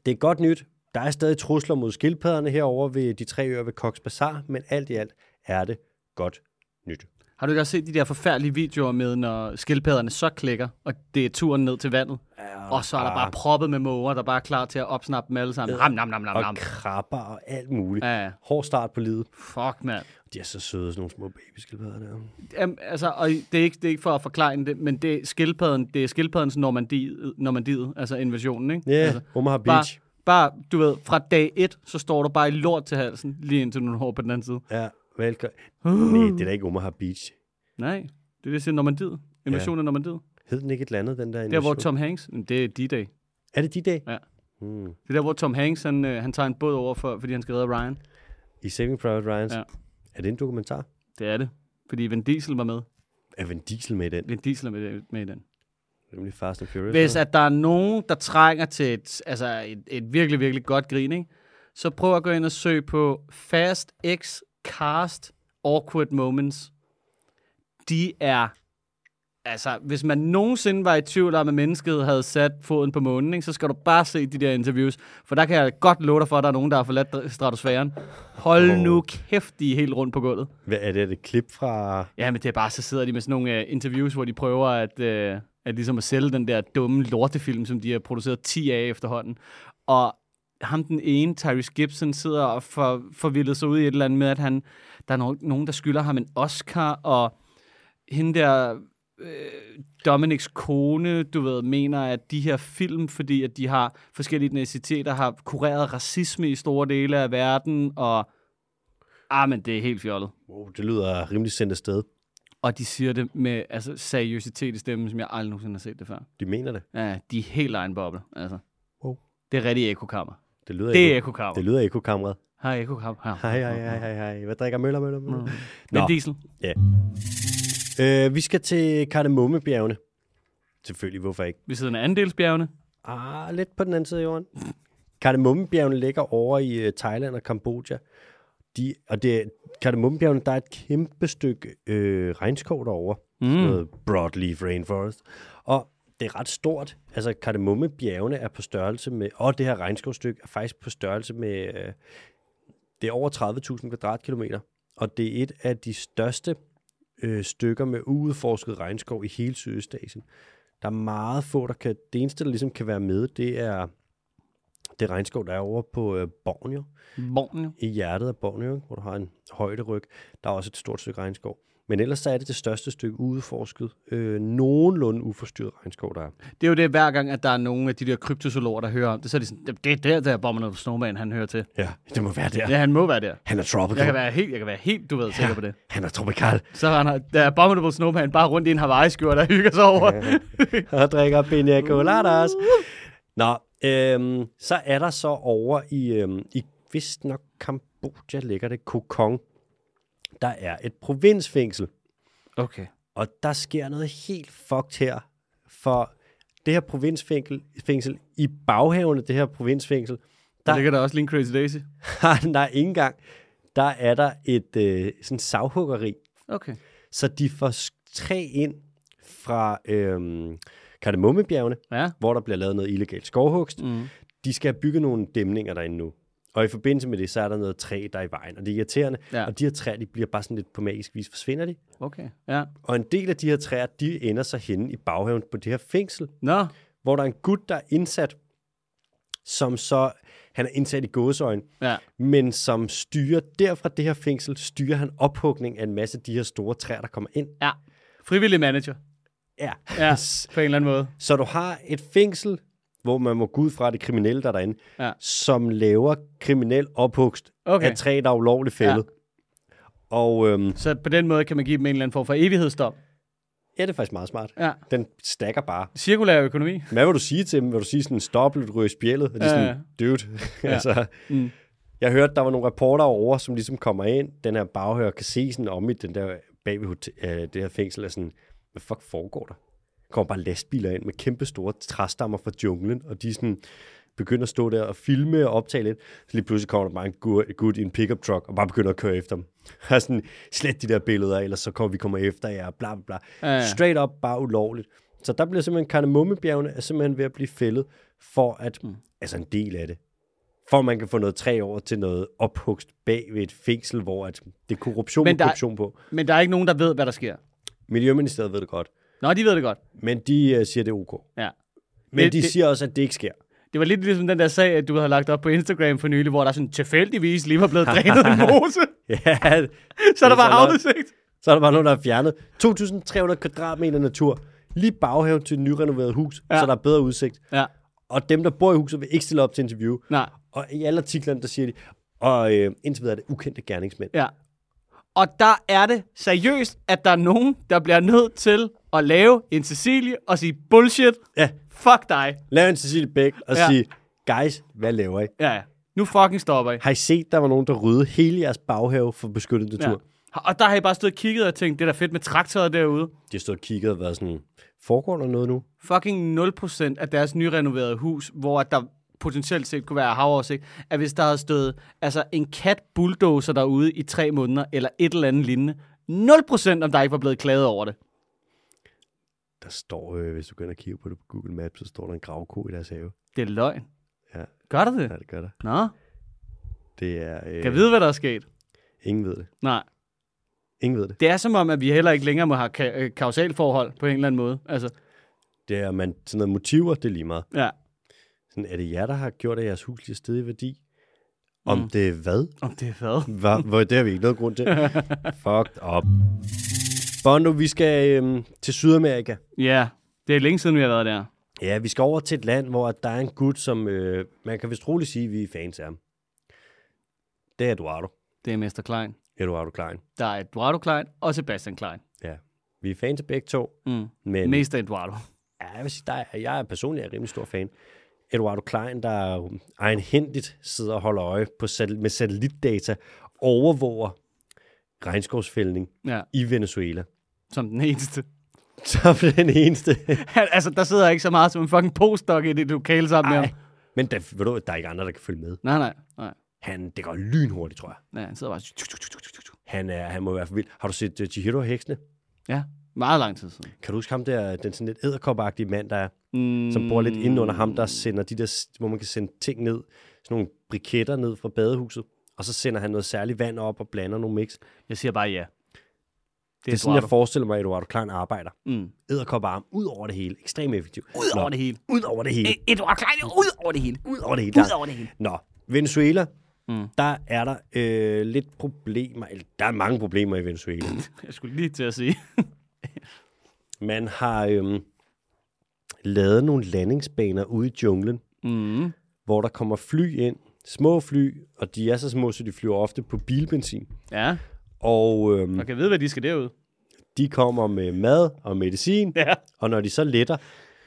Speaker 1: det er godt nyt. Der er stadig trusler mod skildpadderne herover ved de tre øer ved Cox Bazaar, men alt i alt er det godt nyt.
Speaker 2: Har du ikke også set de der forfærdelige videoer med, når skildpadderne så klikker, og det er turen ned til vandet? Ja, og så er der bare proppet med måger, der bare er klar til at opsnappe dem alle sammen. Ram, nam, nam, nam,
Speaker 1: Og
Speaker 2: nam.
Speaker 1: krabber og alt muligt.
Speaker 2: Ja, ja.
Speaker 1: Hård start på livet.
Speaker 2: fuck, mand.
Speaker 1: De er så søde, sådan nogle små babyskildpadder der.
Speaker 2: Jamen, altså, og det er, ikke, det er ikke for at forklare det, men det er skildpadden, det er skildpaddens Normandiet, Normandiet altså invasionen, ikke?
Speaker 1: Ja,
Speaker 2: Altså,
Speaker 1: yeah, Omaha Beach.
Speaker 2: Bare, bare, du ved, fra dag et, så står du bare i lort til halsen, lige indtil du når på den anden side.
Speaker 1: Ja, velkommen. Nej, det er da ikke Omaha Beach.
Speaker 2: Nej, det er det, jeg siger Normandiet. Invasionen ja. af Normandiet.
Speaker 1: Hed den ikke et eller andet, den der
Speaker 2: Der,
Speaker 1: invasion?
Speaker 2: hvor Tom Hanks, Jamen, det er D-Day.
Speaker 1: Er det de dag?
Speaker 2: Ja.
Speaker 1: Hmm.
Speaker 2: Det er der, hvor Tom Hanks, han, øh, han tager en båd over, for, fordi han skal redde Ryan.
Speaker 1: I Saving Private Ryan.
Speaker 2: Ja.
Speaker 1: Ja. Er det en dokumentar?
Speaker 2: Det er det. Fordi Vin Diesel var med.
Speaker 1: Er Vin Diesel med i den?
Speaker 2: Vin Diesel er med, med i den.
Speaker 1: Nemlig Fast and Furious.
Speaker 2: Hvis at der er nogen, der trænger til et, altså et, et virkelig, virkelig godt grin, ikke? så prøv at gå ind og søg på Fast X Cast Awkward Moments. De er... Altså, hvis man nogensinde var i tvivl om, at mennesket havde sat foden på månen, ikke, så skal du bare se de der interviews. For der kan jeg godt love dig for, at der er nogen, der har forladt stratosfæren. Hold oh. nu kæft, de er helt rundt på gulvet.
Speaker 1: Hvad, er det et klip fra...
Speaker 2: Ja, men det er bare, så sidder de med sådan nogle uh, interviews, hvor de prøver at, uh, at ligesom at sælge den der dumme lortefilm, som de har produceret 10 af efterhånden. Og ham den ene, Tyrese Gibson, sidder og for, forvildet sig ud i et eller andet med, at han, der er no- nogen, der skylder ham en Oscar, og hende der øh, Dominics kone, du ved, mener, at de her film, fordi at de har forskellige etniciteter, har kureret racisme i store dele af verden, og ah, men det er helt fjollet.
Speaker 1: Wow, det lyder rimelig sendt afsted.
Speaker 2: Og de siger det med altså, seriøsitet i stemmen, som jeg aldrig nogensinde har set det før.
Speaker 1: De mener det.
Speaker 2: Ja, de er helt egen boble, altså.
Speaker 1: Wow.
Speaker 2: Det er rigtig ekokammer.
Speaker 1: Det lyder
Speaker 2: Det er
Speaker 1: eko-
Speaker 2: ekokammer.
Speaker 1: det lyder ekokammeret.
Speaker 2: Hej, ekokammer. Hej.
Speaker 1: Hej, hej, hej, hej, hej. Hvad drikker Møller, Møller, Møller?
Speaker 2: Men
Speaker 1: Nå.
Speaker 2: diesel. Mm.
Speaker 1: Øh, vi skal til Kardemommebjergene. Selvfølgelig, hvorfor ikke?
Speaker 2: Vi sidder af andelsbjergene.
Speaker 1: Ah, lidt på den anden side af jorden. Kardemommebjergene ligger over i øh, Thailand og Kambodja. De, og det, Kardemommebjergene, der er et kæmpe stykke øh, regnskov derovre. Mm. Sådan noget broadleaf rainforest. Og det er ret stort. Altså, Kardemommebjergene er på størrelse med... Og det her regnskovstykke er faktisk på størrelse med... Øh, det er over 30.000 kvadratkilometer. Og det er et af de største øh, stykker med uudforsket regnskov i hele Sydøstasien. Der er meget få, der kan... Det eneste, der ligesom kan være med, det er det regnskov, der er over på øh, Borneo,
Speaker 2: Borneo.
Speaker 1: i hjertet af Borneo, ikke? hvor du har en højderyg. Der er også et stort stykke regnskov. Men ellers så er det det største stykke uudforsket, øh, nogenlunde uforstyrret regnskov, der er.
Speaker 2: Det er jo det, hver gang, at der er nogle af de der kryptozoologer, der hører om det, så er de sådan, "Jamen, det er der, der Abominable Snowman, han hører til.
Speaker 1: Ja, det må være der.
Speaker 2: Ja, han må være der.
Speaker 1: Han er tropical.
Speaker 2: Jeg kan være helt, jeg kan være helt du ved, sikker på det.
Speaker 1: Han er tropical.
Speaker 2: Så render der Abominable Snowman bare rundt i en Hawaii-skjort, der hygger sig over.
Speaker 1: og drikker pina coladas. Nå, øhm, så er der så over i, øhm, i vist nok Kambodja ligger det, Kokong. Der er et provinsfængsel,
Speaker 2: Okay.
Speaker 1: og der sker noget helt fucked her, for det her provinsfængsel, fængsel, i baghaven af det her provinsfængsel,
Speaker 2: Der
Speaker 1: Der-
Speaker 2: ligger der også lige en Crazy Daisy.
Speaker 1: har der ikke engang, der er der et øh, sådan savhuggeri,
Speaker 2: Okay.
Speaker 1: så de får sk- træ ind fra øhm, Kardemommebjergene,
Speaker 2: Ja.
Speaker 1: hvor der bliver lavet noget illegalt skovhugst.
Speaker 2: Mm.
Speaker 1: De skal have bygget nogle dæmninger derinde nu. Og i forbindelse med det, så er der noget træ, der er i vejen, og det er irriterende.
Speaker 2: Ja.
Speaker 1: Og de her træer, de bliver bare sådan lidt på magisk vis, forsvinder de.
Speaker 2: Okay. Ja.
Speaker 1: Og en del af de her træer, de ender så henne i baghaven på det her fængsel,
Speaker 2: Nå.
Speaker 1: hvor der er en gut, der er indsat, som så, han er indsat i gåseøjen,
Speaker 2: Ja.
Speaker 1: men som styrer derfra det her fængsel, styrer han ophugning af en masse af de her store træer, der kommer ind.
Speaker 2: Ja. Frivillig manager.
Speaker 1: Ja.
Speaker 2: Ja.
Speaker 1: Yes.
Speaker 2: På en eller anden måde.
Speaker 1: Så du har et fængsel, hvor man må gå ud fra det kriminelle, der er derinde,
Speaker 2: Ja.
Speaker 1: som laver kriminel ophugst
Speaker 2: Okay.
Speaker 1: af træ, der er ulovligt fældet. Ja. Og øhm,
Speaker 2: Så på den måde kan man give dem en eller anden form for evighedsdom.
Speaker 1: ja, det er faktisk meget smart.
Speaker 2: Ja.
Speaker 1: Den stakker bare.
Speaker 2: Cirkulær økonomi.
Speaker 1: Hvad vil du sige til dem? Vil du sige sådan, stop, vil du ryge spjældet? Og de er
Speaker 2: Ja,
Speaker 1: sådan, dude.
Speaker 2: Ja.
Speaker 1: altså,
Speaker 2: Mm.
Speaker 1: jeg hørte, der var nogle reporter over, som ligesom kommer ind, den her baghør kan se sådan om i den der bag ved hotel, øh, det her fængsel, er sådan, hvad fuck foregår der? Der kommer bare lastbiler ind med kæmpe store træstammer fra junglen, og de sådan begynder at stå der og filme og optage lidt. Så lige pludselig kommer der bare en gu- gut i en pickup truck, og bare begynder at køre efter dem. Og sådan, slet de der billeder, ellers så kommer vi kommer efter jer, bla bla bla.
Speaker 2: Ja, ja.
Speaker 1: Straight up, bare ulovligt. Så der bliver simpelthen, Karnemummebjergene er simpelthen ved at blive fældet, for at, mm. altså en del af det, for at man kan få noget træ over til noget ophugst bag ved et fængsel, hvor at det er korruption
Speaker 2: Men
Speaker 1: med
Speaker 2: der-
Speaker 1: korruption på.
Speaker 2: Men der er ikke nogen, der ved, hvad der sker.
Speaker 1: Miljøministeriet ved det godt,
Speaker 2: Nå, de ved det godt.
Speaker 1: men de uh, siger, det er ok.
Speaker 2: Ja.
Speaker 1: Men det,
Speaker 2: Det-
Speaker 1: de
Speaker 2: det-
Speaker 1: siger også, at det ikke sker.
Speaker 2: Det var lidt ligesom den der sag, at du havde lagt op på Instagram for nylig, hvor der sådan tilfældigvis lige var blevet drænet en mose.
Speaker 1: ja,
Speaker 2: Så der
Speaker 1: Det er så
Speaker 2: var
Speaker 1: nok.
Speaker 2: havnesigt.
Speaker 1: så er der bare nogen, der har fjernet 2.300 kvadratmeter natur, lige baghaven til et nyrenoveret hus,
Speaker 2: Ja.
Speaker 1: ja. så der er bedre udsigt.
Speaker 2: Ja.
Speaker 1: Og dem, der bor i huset, vil ikke stille op til interview.
Speaker 2: Nej.
Speaker 1: Og i alle artiklerne, der siger de, og øh, indtil videre er det ukendte gerningsmænd.
Speaker 2: Ja. Og der er det seriøst, at der er nogen, der bliver nødt til at lave en Cecilie og sige, bullshit,
Speaker 1: Ja,
Speaker 2: fuck dig.
Speaker 1: lav en Cecilie Bæk og
Speaker 2: Ja.
Speaker 1: ja. sige, guys, hvad laver I?
Speaker 2: Ja, ja. Nu fucking stopper I.
Speaker 1: Har I set, der var nogen, der ryddede hele jeres baghave for beskyttet natur?
Speaker 2: Ja.
Speaker 1: Ja.
Speaker 2: Og der har I bare stået og kigget og tænkt, det er da fedt med traktorer derude.
Speaker 1: De har stået og kigget og været sådan, foregår der noget nu?
Speaker 2: Fucking 0% af deres nyrenoverede hus, hvor at der potentielt set kunne være havoversigt, at hvis der havde stået altså en kat bulldozer derude i tre måneder, eller et eller andet lignende, 0% om der ikke var blevet klaget over det.
Speaker 1: Der står, øh, hvis du går ind og kigger på det på Google Maps, så står der en gravko i deres have.
Speaker 2: Det er løgn.
Speaker 1: Ja.
Speaker 2: Gør det det?
Speaker 1: Ja, det gør der.
Speaker 2: Nå,
Speaker 1: Det er, øh,
Speaker 2: kan jeg vide, hvad der er sket?
Speaker 1: ingen ved det.
Speaker 2: Nej.
Speaker 1: Ingen ved det.
Speaker 2: Det er som om, at vi heller ikke længere må have ka- øh, kausalforhold på en eller anden måde. Altså,
Speaker 1: Det er, man, sådan noget motiver, det er lige meget.
Speaker 2: ja.
Speaker 1: Sådan, er det jer, der har gjort, at jeres hus lige er stedet i værdi? Om mm. det er hvad?
Speaker 2: Om det er hvad?
Speaker 1: Hva, hvor, det har vi ikke noget grund til. Fucked up. Bondo, vi skal øhm, til Sydamerika.
Speaker 2: Ja, det er længe siden, vi har været der.
Speaker 1: Ja, vi skal over til et land, hvor der er en gut, som øh, man kan vist roligt sige, at vi er fans af ham. Det er Eduardo.
Speaker 2: Det er Mester Klein.
Speaker 1: Eduardo Klein.
Speaker 2: Der er Eduardo Klein og Sebastian Klein.
Speaker 1: Ja. Vi er fans af begge to,
Speaker 2: Mm.
Speaker 1: men
Speaker 2: Mest af Eduardo.
Speaker 1: ja, jeg vil sige, der er, jeg er personligt en rimelig stor fan. Eduardo Klein, der jo egenhændigt sidder og holder øje på sat- med satellitdata, overvåger regnskovsfældning
Speaker 2: Ja,
Speaker 1: i Venezuela.
Speaker 2: som den eneste.
Speaker 1: Så er den eneste.
Speaker 2: Han- altså, der sidder ikke så meget som en fucking postdoc i det lokale sammen med
Speaker 1: Ej.
Speaker 2: ham.
Speaker 1: Men der, ved du, der er ikke andre, der kan følge med.
Speaker 2: Nej, nej, nej.
Speaker 1: Han, det går lynhurtigt, tror jeg.
Speaker 2: Ja, han sidder bare... tuk, tuk, tuk, tuk, tuk, tuk.
Speaker 1: Han, er, han må være for vild. Har du set uh, Chihiro og heksene?
Speaker 2: Ja, meget lang tid siden.
Speaker 1: Kan du huske ham der, den sådan lidt æderkopagtige mand, der er,
Speaker 2: Mm,
Speaker 1: som bor lidt inde under ham, der sender de der, hvor man kan sende ting ned, sådan nogle briketter ned fra badehuset, og så sender han noget særligt vand op og blander nogle mix. Det er,
Speaker 2: Jeg siger bare ja.
Speaker 1: det er sådan, jeg forestiller mig, at Eduardo Klein arbejder.
Speaker 2: Mm.
Speaker 1: Æderkopperarm, ud over det hele. Ekstremt effektiv.
Speaker 2: Ud
Speaker 1: Nå,
Speaker 2: over det hele.
Speaker 1: Ud over det hele.
Speaker 2: E- Eduardo Klein, ud over det hele.
Speaker 1: Ud over det hele.
Speaker 2: Ud over det hele.
Speaker 1: Nå, Venezuela,
Speaker 2: Mm.
Speaker 1: der er der øh, lidt problemer, eller der er mange problemer i Venezuela.
Speaker 2: Jeg skulle lige til at sige.
Speaker 1: Man har øhm, lavet nogle landingsbaner ude i junglen,
Speaker 2: Mm.
Speaker 1: hvor der kommer fly ind, små fly, og de er så små, så de flyver ofte på bilbenzin.
Speaker 2: Ja,
Speaker 1: Og øhm,
Speaker 2: og kan vide, hvad de skal derud.
Speaker 1: de kommer med mad og medicin,
Speaker 2: Ja.
Speaker 1: og når de så letter,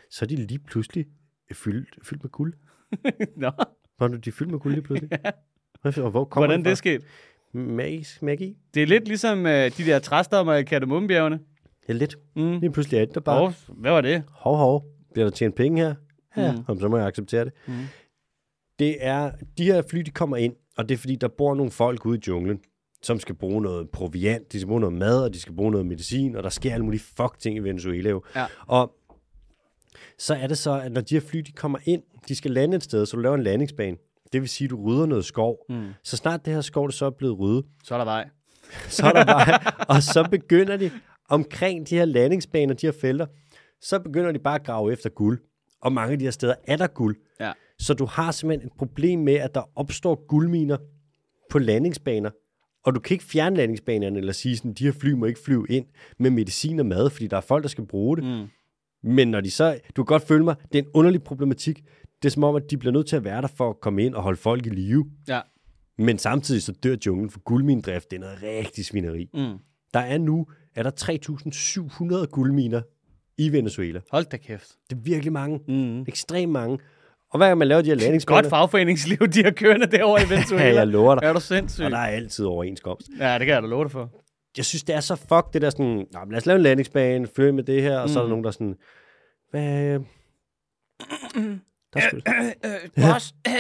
Speaker 1: så er de lige pludselig fyldt, fyldt med guld.
Speaker 2: Nå,
Speaker 1: Hvor er de er fyldt med guld lige pludselig? Og hvor kommer
Speaker 2: hvordan det
Speaker 1: det fra?
Speaker 2: skete.
Speaker 1: Magisk, magi?
Speaker 2: Det er lidt ligesom uh, de der træstammer i Kardemommebjergene.
Speaker 1: Ja, lidt.
Speaker 2: Mm.
Speaker 1: Lige pludselig er det der bare.
Speaker 2: Og, hvad var det?
Speaker 1: hov, hov, bliver der tjent penge her? Ja,
Speaker 2: Mm.
Speaker 1: mm. så må jeg acceptere det.
Speaker 2: Mm.
Speaker 1: Det er, de her fly, de kommer ind, og det er fordi, der bor nogle folk ude i junglen. som skal bruge noget proviant, de skal bruge noget mad, og de skal bruge noget medicin, og der sker alle mulige fuck ting i Venezuela jo.
Speaker 2: Ja.
Speaker 1: Og så er det så, at når de her fly, de kommer ind, de skal lande et sted, så du laver en landingsbane. Det vil sige, at du rydder noget skov. Mm. Så snart det her skov, det så er blevet ryddet,
Speaker 2: Så er der vej.
Speaker 1: så er der bare, og så begynder de omkring de her landingsbaner, de her felter, så begynder de bare at grave efter guld. Og mange af de her steder er der guld.
Speaker 2: Ja.
Speaker 1: Så du har simpelthen et problem med, at der opstår guldminer på landingsbaner, og du kan ikke fjerne landingsbanerne eller sige sådan, de her fly må ikke flyve ind med medicin og mad, fordi der er folk, der skal bruge det. Mm. Men når de så, du kan godt følge mig, det er en underlig problematik. Det er som om, at de bliver nødt til at være der for at komme ind og holde folk i live.
Speaker 2: Ja.
Speaker 1: Men samtidig så dør junglen for guldmindrift. Det er noget rigtig svineri.
Speaker 2: Mm.
Speaker 1: Der er nu er der 3.700 guldminer i Venezuela.
Speaker 2: Hold da kæft.
Speaker 1: Det er virkelig mange.
Speaker 2: Mm.
Speaker 1: Ekstremt mange. Og hver gang man laver de her landingsbaner,
Speaker 2: Godt fagforeningsliv, de har kørende derovre i
Speaker 1: ja,
Speaker 2: Venezuela.
Speaker 1: jeg lover dig.
Speaker 2: Er du sindssyg?
Speaker 1: Og der er altid overenskomst.
Speaker 2: Ja, det kan jeg da love dig for.
Speaker 1: Jeg synes, det er så fuck, det der sådan, Nå, men lad os lave en landingsbane, følge med det her, og så
Speaker 2: Mm.
Speaker 1: er der nogen, der er sådan, hvad... Der er sgu,
Speaker 2: øh, boss, øh,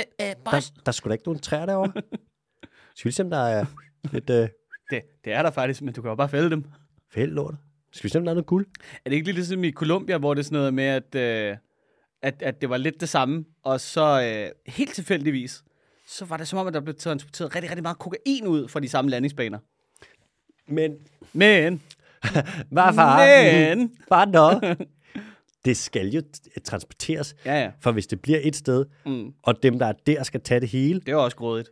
Speaker 1: der, der er sgu da ikke nogen træer derovre. Skal vi se, om der er lidt øh,
Speaker 2: Det, det er der faktisk, men du kan jo bare fælde dem.
Speaker 1: fælde lort? Skal vi se, om der er noget guld?
Speaker 2: Er det ikke lidt ligesom i Colombia, hvor det er sådan noget med, at, øh, at, at det var lidt det samme, og så øh, helt tilfældigvis, så var det som om, at der blev transporteret rigtig, rigtig meget kokain ud fra de samme landingsbaner.
Speaker 1: Men
Speaker 2: Men,
Speaker 1: Hvad
Speaker 2: Men-
Speaker 1: Bare noget. Det skal jo t- transporteres,
Speaker 2: ja ja,
Speaker 1: for hvis det bliver et sted, mm. og dem, der er der, skal tage det hele,
Speaker 2: det var også grådigt.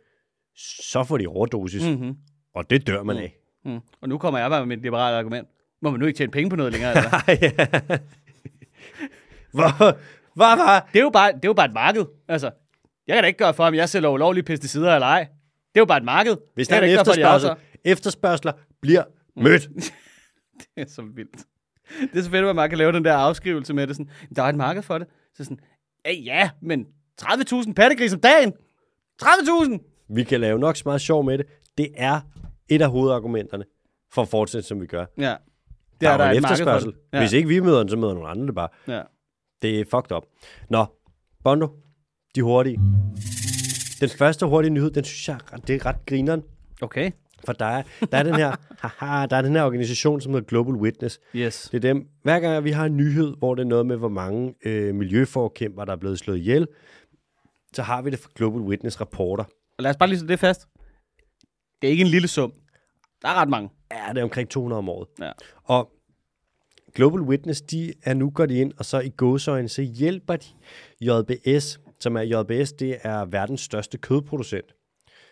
Speaker 1: så får de overdosis, mm-hmm. og det dør man af.
Speaker 2: Mm. Og nu kommer jeg bare med mit liberale argument. Må man nu ikke tjene penge på noget længere? Eller? hvad?
Speaker 1: Ej, ja. Hvor, hvad var?
Speaker 2: det, er jo bare, det er jo bare et marked. Altså, jeg kan da ikke gøre for, om jeg sælger ulovlige pesticider eller ej. Det er jo bare et marked.
Speaker 1: Hvis der
Speaker 2: jeg
Speaker 1: er
Speaker 2: kan
Speaker 1: en
Speaker 2: da ikke gøre for, at de har
Speaker 1: efterspørgsel, efterspørgsler bliver mødt.
Speaker 2: Det er så vildt. Det er så fedt, at man kan lave den der afskrivelse med det. Sådan, der er et marked for det. Så sådan, ja, ja men 30.000 pattegris om dagen. 30.000!
Speaker 1: Vi kan lave nok så meget sjov med det. Det er et af hovedargumenterne for at fortsætte, som vi gør.
Speaker 2: Ja.
Speaker 1: Det er der, er en efterspørgsel.
Speaker 2: det. Ja.
Speaker 1: Hvis ikke vi møder den, så møder nogle andre det bare.
Speaker 2: Ja.
Speaker 1: Det er fucked up. Nå, Bondo, de hurtige. Den første hurtige nyhed, den synes jeg, er ret- det er ret grineren.
Speaker 2: Okay.
Speaker 1: For der er, der er den her, haha, der er den her organisation, som hedder Global Witness.
Speaker 2: Yes.
Speaker 1: Det er dem, hver gang vi har en nyhed, hvor det er noget med, hvor mange øh, miljøforkæmper, der er blevet slået ihjel, så har vi det fra Global Witness rapporter.
Speaker 2: Og lad os bare lige slå det fast. Det er ikke en lille sum. Der er ret mange.
Speaker 1: Ja, det er omkring 200 om året.
Speaker 2: Ja.
Speaker 1: Og Global Witness, de er nu går de ind, og så i gåsøjne, så hjælper de JBS, som er JBS, det er verdens største kødproducent.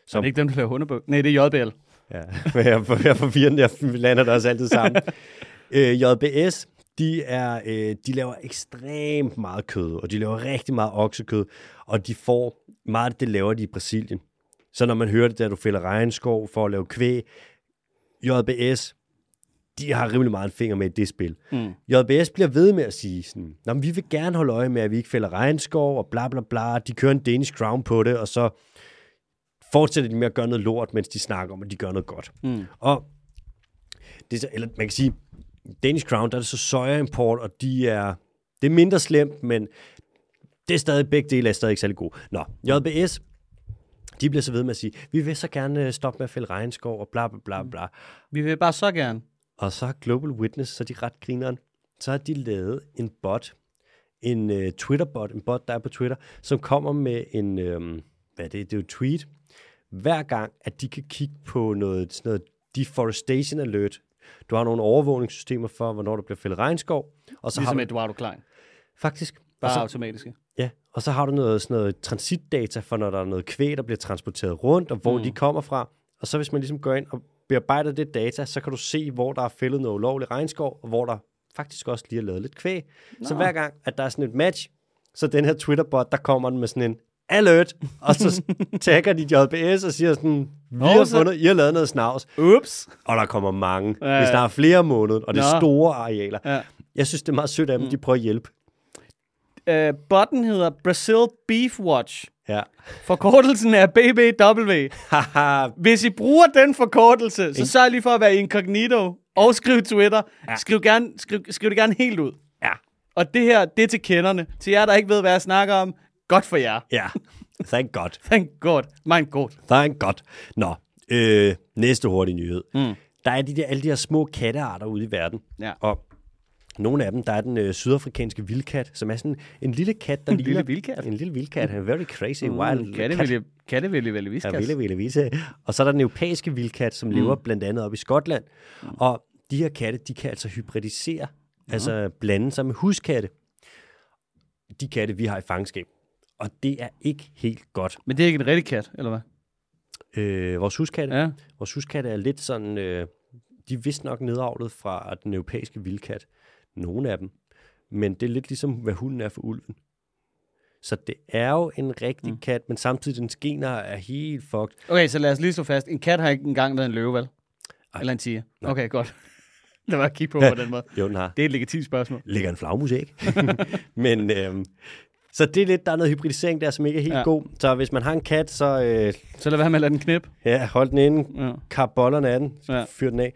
Speaker 2: Så er det ikke dem, der laver hundebøg? Nej, det er JBL.
Speaker 1: Ja, men jeg er for- jeg er forvirrende, jeg lander der også altid sammen. øh, JBS, de, er, øh, de laver ekstremt meget kød, og de laver rigtig meget oksekød, og de får meget af det, laver de i Brasilien. Så når man hører det der, du fælder regnskov for at lave kvæg, JBS, de har rimelig meget en finger med i det spil. Mm. JBS bliver ved med at sige sådan, Nå, men vi vil gerne holde øje med, at vi ikke fælder regnskov, og bla bla bla, de kører en Danish Crown på det, og så fortsætter de med at gøre noget lort, mens de snakker om, at de gør noget godt. Mm. Og det er så, eller man kan sige, Danish Crown, der er det så sojaimport, og de er, det er mindre slemt, men det er stadig, begge dele er stadig ikke særlig gode. Nå, JBS, de bliver så ved med at sige, vi vil så gerne øh, stoppe med at fælde regnskov, og bla bla bla bla.
Speaker 2: Vi vil bare så gerne.
Speaker 1: Og så har Global Witness, så er de ret grineren, så har de lavet en bot, en uh, Twitter-bot, en bot, der er på Twitter, som kommer med en, øhm, hvad er det, det er jo et tweet, hver gang, at de kan kigge på noget, sådan noget deforestation alert. Du har nogle overvågningssystemer for, hvornår der bliver fældet regnskov, og så
Speaker 2: Ligesom Ah,
Speaker 1: har du,
Speaker 2: Eduardo Klein.
Speaker 1: faktisk, og
Speaker 2: Bare
Speaker 1: så,
Speaker 2: automatiske.
Speaker 1: Ja, og så har du noget, sådan noget transitdata for, når der er noget kvæg, der bliver transporteret rundt, og hvor mm. de kommer fra. Og så hvis man ligesom går ind og bearbejder det data, så kan du se, hvor der er fældet noget ulovlig regnskov, og hvor der faktisk også lige er lavet lidt kvæg. Nå. Så hver gang, at der er sådan et match, så den her Twitterbot, der kommer den med sådan en alert, og så tagger de JBS og siger sådan, vi har
Speaker 2: så-
Speaker 1: fundet, I har lavet noget snavs.
Speaker 2: Ups!
Speaker 1: Og der kommer mange.
Speaker 2: Ja,
Speaker 1: Ja. Hvis
Speaker 2: ja.
Speaker 1: der er flere om måneden, og det er
Speaker 2: Nå.
Speaker 1: store arealer.
Speaker 2: Ja. Mm.
Speaker 1: Jeg synes, det er meget sødt af dem, de prøver at hjælpe.
Speaker 2: Øh, botten hedder Brazil Beef Watch.
Speaker 1: Ja.
Speaker 2: Forkortelsen er BBW.
Speaker 1: Haha,
Speaker 2: Hvis I bruger den forkortelse, så sørg lige for at være incognito og skriv Twitter. Ja. Skriv, gerne, skriv, skriv det gerne helt ud.
Speaker 1: ja.
Speaker 2: Og det her, det er til kenderne. Til jer, der ikke ved, hvad jeg snakker om. Godt for jer.
Speaker 1: Ja, thank God.
Speaker 2: Thank God. Mein God.
Speaker 1: Thank God. Nå, Øh, næste hurtige nyhed.
Speaker 2: Mm.
Speaker 1: Der er de der, alle de her små kattearter ude i verden.
Speaker 2: Ja.
Speaker 1: Og nogle af dem, der er den øh, sydafrikanske vildkat, som er sådan en lille kat, der
Speaker 2: En
Speaker 1: ligner...
Speaker 2: lille vildkat?
Speaker 1: En lille vildkat. A very crazy
Speaker 2: Mm,
Speaker 1: wild cat.
Speaker 2: Kattevælge, kattevælge, vælge viskas.
Speaker 1: Ja, ville, ville, vise. Og så er der den europæiske vildkat, som mm. lever blandt andet op i Skotland. Mm. Og de her katte, de kan altså hybridisere, mm. altså blande sig med huskatte. De katte, vi har i fangenskab. Og det er ikke helt godt.
Speaker 2: Men det er ikke en rigtig kat, eller hvad?
Speaker 1: Øh, vores huskatte, ja.
Speaker 2: Ja.
Speaker 1: vores huskatte er lidt sådan, øh, de er vist nok nedavlet fra den europæiske vildkat. Nogle af dem. Men det er lidt ligesom, hvad hunden er for ulven. Så det er jo en rigtig mm. kat, men samtidig dens gener er helt fucked.
Speaker 2: Okay, så lad os lige slå fast. En kat har ikke engang været en løve, vel?
Speaker 1: Ej.
Speaker 2: Eller en tiger. Okay, godt. det var at kigge på på den måde.
Speaker 1: Jo, den har.
Speaker 2: Det er et legitimt spørgsmål.
Speaker 1: ligger en flagmus æg. Men øhm, så det er lidt, der er noget hybridisering der, som ikke er helt ja.
Speaker 2: Ja.
Speaker 1: god. Så hvis man har en kat, så øh,
Speaker 2: Så lad være med at lade den knip.
Speaker 1: ja, hold den inde,
Speaker 2: Ja.
Speaker 1: kap bollerne af den,
Speaker 2: Ja.
Speaker 1: fyr den af.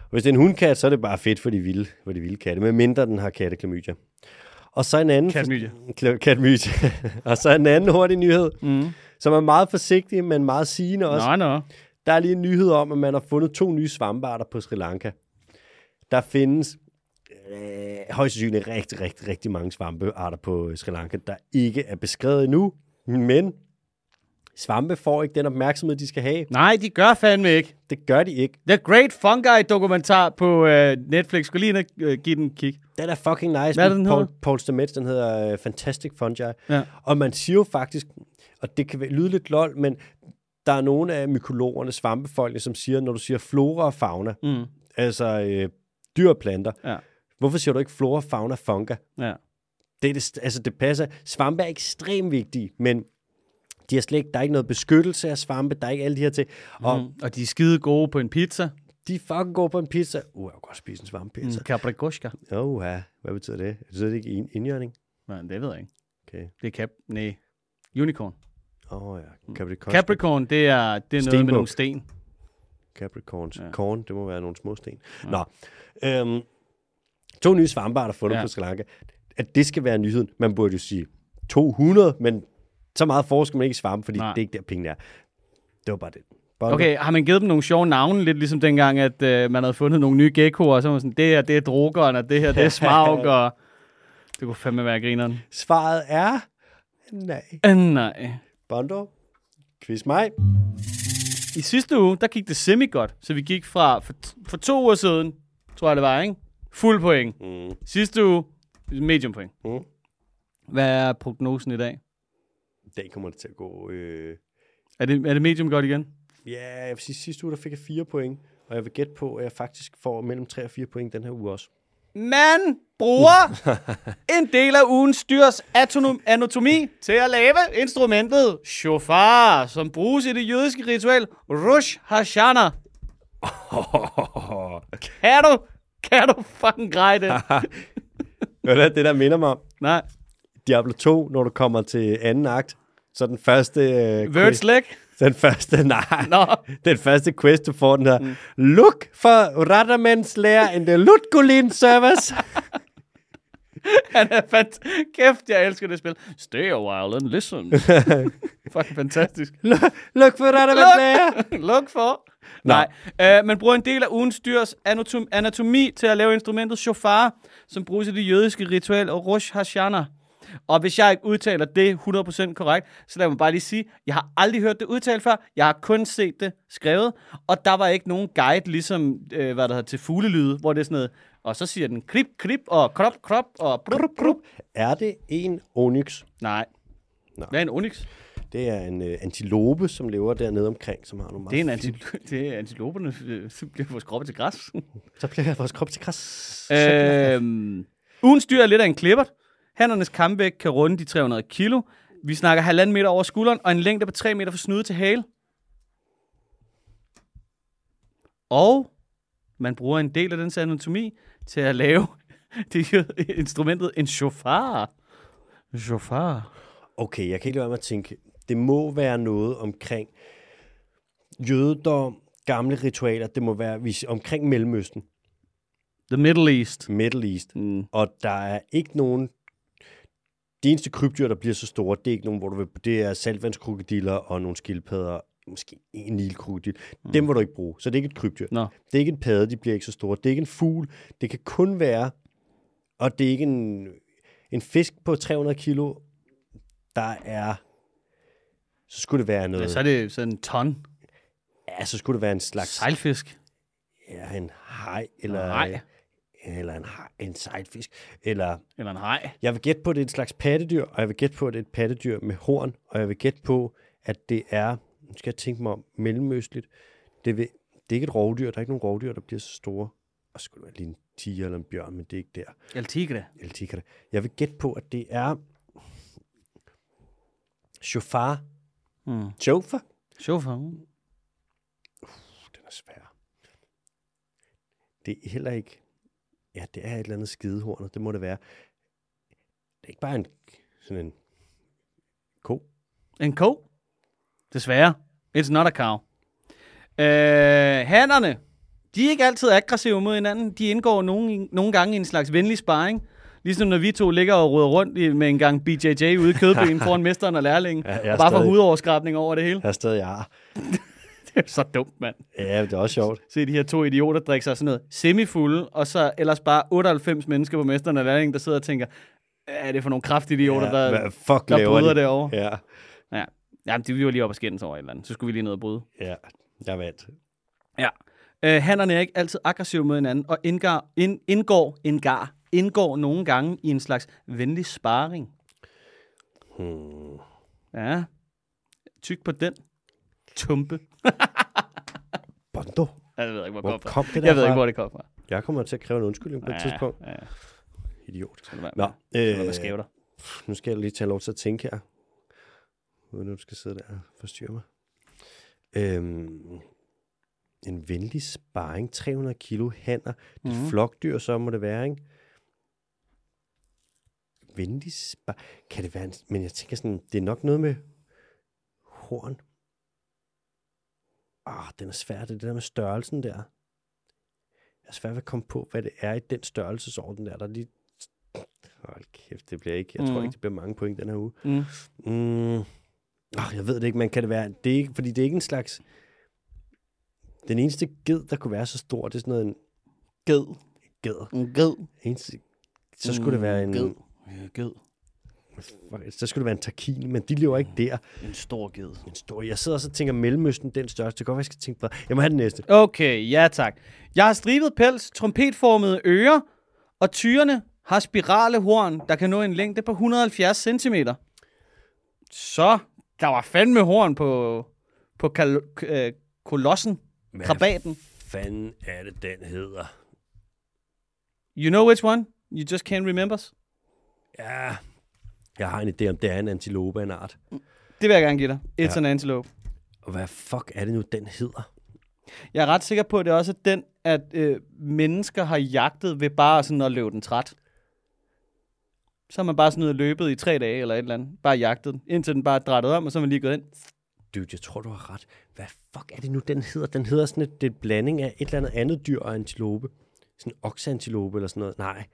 Speaker 1: Og hvis det er en hundkat, så er det bare fedt for de vilde, for de vilde katte, med mindre den har katteklamydia. Og så en anden...
Speaker 2: Klamydia.
Speaker 1: Kla- Katmydia. og så en anden hurtig nyhed,
Speaker 2: Mm.
Speaker 1: som er meget forsigtig, men meget sigende også.
Speaker 2: Nå, nå.
Speaker 1: Der er lige en nyhed om, at man har fundet to nye svampearter på Sri Lanka. Der findes øh, højst sandsynligt rigtig, rigtig, rigtig mange svampearter på øh, Sri Lanka, der ikke er beskrevet endnu, men svampe får ikke den opmærksomhed, de skal have.
Speaker 2: Nej, de gør fandme ikke.
Speaker 1: Det gør de ikke.
Speaker 2: The Great Fungi-dokumentar på øh, Netflix. Skulle lige ind og øh, give den en kig.
Speaker 1: Den er fucking nice.
Speaker 2: Hvad er det, den
Speaker 1: Paul,
Speaker 2: hedder?
Speaker 1: Paul Stamets, den hedder øh, Fantastic Fungi.
Speaker 2: Ja.
Speaker 1: Og man siger jo faktisk, og det kan være- lyde lidt lol, men der er nogle af mykologerne, svampefolkene, som siger, når du siger flora og fauna,
Speaker 2: Mm.
Speaker 1: altså øh, dyr og planter,
Speaker 2: Ja.
Speaker 1: Hvorfor siger du ikke flora, fauna, funga?
Speaker 2: Ja.
Speaker 1: Det, er det, altså, det passer. Svampe er ekstremt vigtige, men de har slet ikke, der er ikke noget beskyttelse af svampe, der er ikke alle de her ting. Og mm.
Speaker 2: Mm. Og de er skide gode på en pizza.
Speaker 1: de er fucking går på en pizza. Uh, jeg kunne godt spise en svampepizza.
Speaker 2: En capricoska.
Speaker 1: Mm. Oh, ja. Hvad betyder det? Betyder det ikke ind- indjørning?
Speaker 2: Nej, det ved jeg ikke.
Speaker 1: Okay.
Speaker 2: Det er cap... Nej. Unicorn.
Speaker 1: Åh oh, ja,
Speaker 2: Mm.
Speaker 1: Capricorn.
Speaker 2: Capricorn, det er, det er noget med
Speaker 1: Stenbuk.
Speaker 2: nogle sten.
Speaker 1: Capricorns. Ja.
Speaker 2: Ja.
Speaker 1: Korn, det må være nogle små sten. Ja. Nå. Øhm, to nye svampearter fundet ja.
Speaker 2: Ja.
Speaker 1: på Sri Lanka. At det skal være nyheden. Man burde jo sige 200, men så meget forsker man ikke i svampe, fordi Nej.
Speaker 2: Nej.
Speaker 1: det er ikke der pengene er. Det var bare det. Bare
Speaker 2: Okay, har man givet dem nogle sjove navne, lidt ligesom dengang, at øh, man havde fundet nogle nye geckoer, og så var man sådan, det her, det er drukkeren, og det her, det er smag, og det kunne fandme være grineren.
Speaker 1: Svaret er... Nej.
Speaker 2: Øh, nej.
Speaker 1: Bondo? Quiz mig.
Speaker 2: I sidste uge, der gik det semi-godt, så vi gik fra, for, for to uger siden, tror jeg det var, ikke? Fuld point.
Speaker 1: Mm.
Speaker 2: Sidste uge, medium point.
Speaker 1: Mm.
Speaker 2: Hvad er prognosen i dag?
Speaker 1: I dag kommer det til at gå... Øh...
Speaker 2: Er det, er det medium godt igen?
Speaker 1: Ja, jeg vil sige, sidste uge der fik jeg fire point, og jeg vil gætte på, at jeg faktisk får mellem 3 og 4 point den her uge også.
Speaker 2: Man bruger en del af ugens dyrs atonom- anatomi til at lave instrumentet shofar, som bruges i det jødiske ritual Rosh Hashanah. Kan du, kan du fucking greje det?
Speaker 1: Ved du hvad det, der minder mig om?
Speaker 2: Nej.
Speaker 1: Diablo 2, når du kommer til anden akt, så den første... Øh,
Speaker 2: Words
Speaker 1: quest,
Speaker 2: leg?
Speaker 1: den første, nej.
Speaker 2: Nå.
Speaker 1: Den første quest, du får, den her. Mm. Look for Radamans lærer in the Lutgulin service.
Speaker 2: Han er fant... Kæft, jeg elsker det spil. Stay a while and listen. fucking fantastisk.
Speaker 1: Look- Look for Radamans lærer.
Speaker 2: Look for. Nej. Uh, man bruger en del af ugens dyrs anatom- anatomi til at lave instrumentet shofar, som bruges i det jødiske ritual og Rosh Hashanah. Og hvis jeg ikke udtaler det 100% korrekt, så lad mig bare lige sige, jeg har aldrig hørt det udtalt før. Jeg har kun set det skrevet, og der var ikke nogen guide, ligesom øh, hvad der hedder, til fuglelyde, hvor det er sådan noget, og så siger den klip, klip, og krop, krop, og brup, brup.
Speaker 1: Er det en onyx?
Speaker 2: Nej.
Speaker 1: Nå.
Speaker 2: Hvad er en onyx?
Speaker 1: Det er en øh, antilope, som lever dernede omkring, som har nogle meget
Speaker 2: Det er en
Speaker 1: fine-
Speaker 2: antil- det er antiloperne, øh, så bliver vores kroppe til græs.
Speaker 1: Så bliver vores krop til græs.
Speaker 2: øhm, ugens dyr er lidt af en klippert. Hannernes comeback kan runde de 300 kilo. Vi snakker halvanden meter over skulderen, og en længde på 3 meter fra snude til hale. Og man bruger en del af dens anatomi til at lave det her instrumentet en shofar. Shofar.
Speaker 1: Okay, jeg kan ikke lade være med at tænke, det må være noget omkring jødedom, gamle ritualer, det må være hvis, omkring Mellemøsten,
Speaker 2: The Middle East.
Speaker 1: Middle East,
Speaker 2: Mm.
Speaker 1: og der er ikke nogen, de eneste krybdyr, der bliver så store, det er ikke nogen, hvor du vil, det er saltvandskrokodiller og nogle skildpadder måske en nilkrudil. Mm. Dem vil du ikke bruge, så det er ikke et krybdyr.
Speaker 2: Nå.
Speaker 1: Det er ikke en padde, de bliver ikke så store. Det er ikke en fugl. Det kan kun være, og det er ikke en, en fisk på 300 kilo, der er, så skulle det være noget,
Speaker 2: Ja, så er det sådan en ton
Speaker 1: ja, så skulle det være en slags,
Speaker 2: sejlfisk.
Speaker 1: ja, en hej, eller,
Speaker 2: Nej.
Speaker 1: eller en, haj, en sejtfisk, eller
Speaker 2: Eller en haj.
Speaker 1: Jeg vil gætte på, at det er en slags pattedyr, og jeg vil gætte på, at det er et pattedyr med horn, og jeg vil gætte på, at det er, nu skal jeg tænke mig om, mellemøstligt. Det, vil, det er ikke et rovdyr, der er ikke nogen rovdyr, der bliver så store. Og så skulle det være lige en tiger eller en bjørn, men det er ikke der.
Speaker 2: El tigre.
Speaker 1: Eller tigger det. Jeg vil gætte på, at det er chauffør.
Speaker 2: Mm.
Speaker 1: Chauffør?
Speaker 2: Chauffør.
Speaker 1: Den er svær. Det er heller ikke... Ja, det er et eller andet skidehorn, og det må det være. Det er ikke bare en, sådan en ko.
Speaker 2: En ko. Desværre. It's not a cow. Øh, hannerne. De er ikke altid aggressive mod hinanden. De indgår nogle, nogle gange i en slags venlig sparring. Ligesom når vi to ligger og ruder rundt i, med en gang BJJ ude i kødbyen foran mesteren og lærlingen.
Speaker 1: Ja, jeg er
Speaker 2: og bare får
Speaker 1: stadig-
Speaker 2: hudoverskrabning over det hele.
Speaker 1: Jeg er stadig ar.
Speaker 2: Det er så dumt, mand.
Speaker 1: Ja, men det er også sjovt.
Speaker 2: Se de her to idioter drikke sig sådan noget semifulde, og så ellers bare 98 mennesker på mesteren og lærlingen, der sidder og tænker, "Hvad er det for nogle kraftige idioter,
Speaker 1: ja,
Speaker 2: der,
Speaker 1: hvad fuck
Speaker 2: der
Speaker 1: laver
Speaker 2: bryder
Speaker 1: de?
Speaker 2: derovre?
Speaker 1: Ja,
Speaker 2: Ja. Jamen, de vi var lige op og skændes over et eller andet. Så skulle vi lige ned og bryde.
Speaker 1: ja, jeg vandt.
Speaker 2: Ja. Øh, hannerne er ikke altid aggressive mod hinanden, og indgar, ind, indgår, indgar, indgår nogle gange i en slags venlig sparring.
Speaker 1: Hmm.
Speaker 2: Ja. Tyk på den. Tumpe.
Speaker 1: Bondo,
Speaker 2: Ja, Jeg ved ikke, hvor,
Speaker 1: hvor
Speaker 2: det kom fra.
Speaker 1: kom det
Speaker 2: Jeg ved ikke,
Speaker 1: derfra?
Speaker 2: hvor det kom fra.
Speaker 1: Jeg kommer til at kræve en undskyldning på et
Speaker 2: Ja,
Speaker 1: tidspunkt.
Speaker 2: Ja,
Speaker 1: Idiot.
Speaker 2: så det var,
Speaker 1: Nå, øh,
Speaker 2: Nå, det var, hvad skæver der.
Speaker 1: nu skal jeg lige tage lov til at tænke her. Uden at du skal sidde der og forstyrre mig. Øhm, en venlig sparring, 300 kilo hanner. Det er
Speaker 2: Mhm.
Speaker 1: et flokdyr, så må det være, ikke? Venlig sparring. Kan det være en... Men jeg tænker sådan, det er nok noget med horn. Ah, den er svær. Det er det der med størrelsen der. Jeg er svært ved at komme på, hvad det er i den størrelsesorden der. Der er lige... Hold kæft, det bliver ikke... Jeg tror
Speaker 2: Mhm.
Speaker 1: ikke, det bliver mange point den her uge.
Speaker 2: Mm.
Speaker 1: Mm. Oh, jeg ved det ikke, men kan det være... Det er ikke, fordi det er ikke en slags... Den eneste ged, der kunne være så stor, det er sådan noget en
Speaker 2: Ged.
Speaker 1: ged.
Speaker 2: En ged.
Speaker 1: Eneste, så skulle det være en...
Speaker 2: Mm. Ged. Ja, ged.
Speaker 1: Fuck, Så skulle det være en takin, men de lever ikke der.
Speaker 2: En stor ged.
Speaker 1: En stor, jeg sidder også og tænker, Mellemøsten, den største. Det kan godt være, jeg skal tænke på... Jeg må have den næste.
Speaker 2: Okay, ja tak. Jeg har stribet pels, trompetformede ører, og tyrene har spirale horn, der kan nå en længde på 170 cm. Så, der var fandme horn på, på kal- k- øh, kolossen,
Speaker 1: Hvad
Speaker 2: krabaten.
Speaker 1: fanden er det, den hedder?
Speaker 2: You know which one? You just can't remember.
Speaker 1: Ja, jeg har en idé om, det er en antilope af en art.
Speaker 2: Det vil jeg gerne give dig. It's
Speaker 1: Ja.
Speaker 2: ja. an antelope.
Speaker 1: Og hvad fuck er det nu, den hedder?
Speaker 2: Jeg er ret sikker på, at det også er den, at øh, mennesker har jagtet ved bare sådan at løbe den træt. Så har man bare sådan ud og løbet i tre dage eller et eller andet. Bare jagtet den, indtil den bare er drættet om, og så er man lige gået ind.
Speaker 1: Dude, jeg tror, du har ret. Hvad fuck er det nu, den hedder? Den hedder sådan et, det er en blanding af et eller andet andet dyr og antilope. Sådan en okseantilope eller sådan noget. Nej.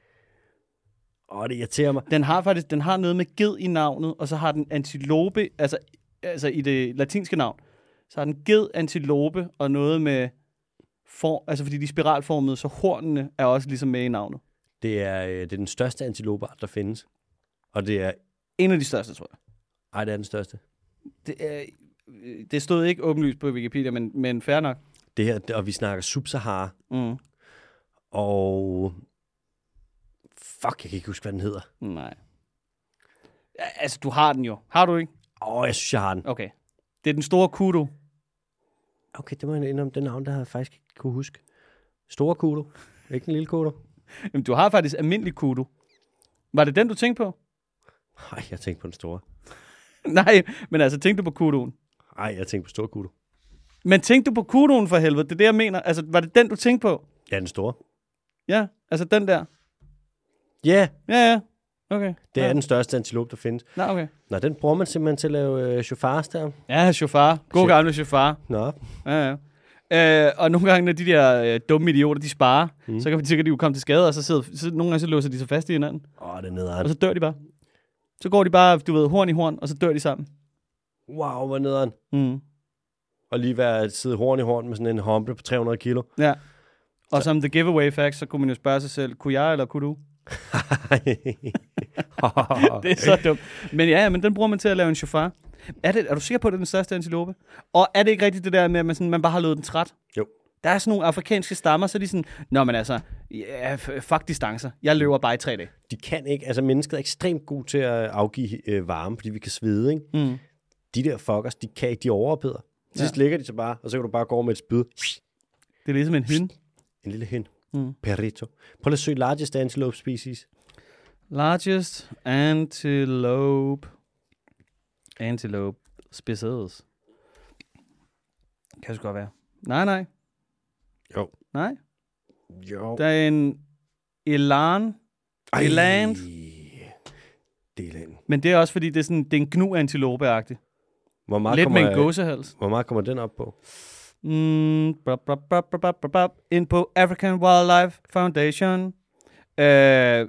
Speaker 1: Åh, det irriterer mig.
Speaker 2: Den har faktisk den har noget med ged i navnet, og så har den antilope, altså, altså i det latinske navn. Så har den ged, antilope og noget med for, altså fordi de er spiralformede, så hornene er også ligesom med i navnet.
Speaker 1: Det er, øh, det er den største antilopeart, der findes. Og det er...
Speaker 2: En af de største, tror jeg.
Speaker 1: Ej, det er den største.
Speaker 2: Det, er, øh, det stod ikke åbenlyst på Wikipedia, men, men fair nok.
Speaker 1: Det her, det- og vi snakker Sub-Sahara.
Speaker 2: Mm.
Speaker 1: Og... Fuck, jeg kan ikke huske, hvad den hedder.
Speaker 2: Nej. Ja, Altså, du har den jo. Har du ikke?
Speaker 1: Åh, jeg synes, jeg har den.
Speaker 2: Okay. Det er den store kudo.
Speaker 1: Okay, det må jeg indrømme. Den navn, der har jeg faktisk ikke kunne huske. Store kudo. Ikke en lille kudo.
Speaker 2: Jamen, du har faktisk almindelig kudo. Var det den, du tænkte på?
Speaker 1: Nej, jeg tænkte på den store.
Speaker 2: Nej, men altså, tænkte du på kudoen?
Speaker 1: Nej, jeg tænkte på store kudo.
Speaker 2: Men tænkte du på kudoen for helvede? Det er det, jeg mener. Altså, var det den, du tænkte på?
Speaker 1: Ja, den store.
Speaker 2: Ja, altså den der.
Speaker 1: Ja, yeah,
Speaker 2: Ja, ja. Okay.
Speaker 1: det
Speaker 2: ja.
Speaker 1: er den største antilope, der findes.
Speaker 2: Nå, okay.
Speaker 1: Nå, den bruger man simpelthen til at lave øh, chauffars der.
Speaker 2: Ja, chauffør. God
Speaker 1: Shit.
Speaker 2: gamle chauffør.
Speaker 1: Nå,
Speaker 2: Ja, ja. Øh, og nogle gange, når de der øh, dumme idioter, de sparer, mm. så kan så kan de jo komme til skade, og så, sidder, så nogle gange så låser de sig fast i hinanden.
Speaker 1: åh, det er
Speaker 2: Og
Speaker 1: nederen.
Speaker 2: så dør de bare. Så går de bare, du ved, horn i horn, og så dør de sammen.
Speaker 1: Wow, hvor nederen.
Speaker 2: Mm.
Speaker 1: og lige være sidde horn i horn med sådan en humble på 300 kilo.
Speaker 2: Ja. Og som the giveaway fact, så kunne man jo spørge sig selv, kunne jeg eller kunne du? Det er så dumt. Men ja, ja, men den bruger man til at lave en chauffør. Er, det, er du sikker på, at det er den største antilope? Og er det ikke rigtigt det der med, at man, sådan, man bare har lavet den træt?
Speaker 1: Jo.
Speaker 2: Der er sådan nogle afrikanske stammer, så er de sådan, Nå, men altså, ja, f- fuck distancer. Jeg løber bare i tre dage.
Speaker 1: De kan ikke, altså mennesket er ekstremt god til at afgive øh, varme, fordi vi kan svede, ikke?
Speaker 2: Mm.
Speaker 1: De der fuckers, de kan ikke, de overopheder. Til sidst ligger de så bare, og så kan du bare gå over med et spyd.
Speaker 2: Det er ligesom en hynde.
Speaker 1: En lille hen.
Speaker 2: Mm.
Speaker 1: Perrito. Prøv lige at søge largest antelope species.
Speaker 2: Largest antelope. Antelope species. Kan det godt være. Nej, nej.
Speaker 1: Jo.
Speaker 2: Nej.
Speaker 1: Jo.
Speaker 2: Der er en elan,
Speaker 1: Ej.
Speaker 2: Elan.
Speaker 1: Det er land.
Speaker 2: men det er også fordi, det er, sådan, det er en gnu antilope agtig
Speaker 1: Hvor meget,
Speaker 2: Lidt med
Speaker 1: kommer,
Speaker 2: en gåsehals.
Speaker 1: hvor meget kommer den op på?
Speaker 2: Mm, bop, bop, bop, bop, bop, bop, bop. Ind på African Wildlife Foundation. Øh,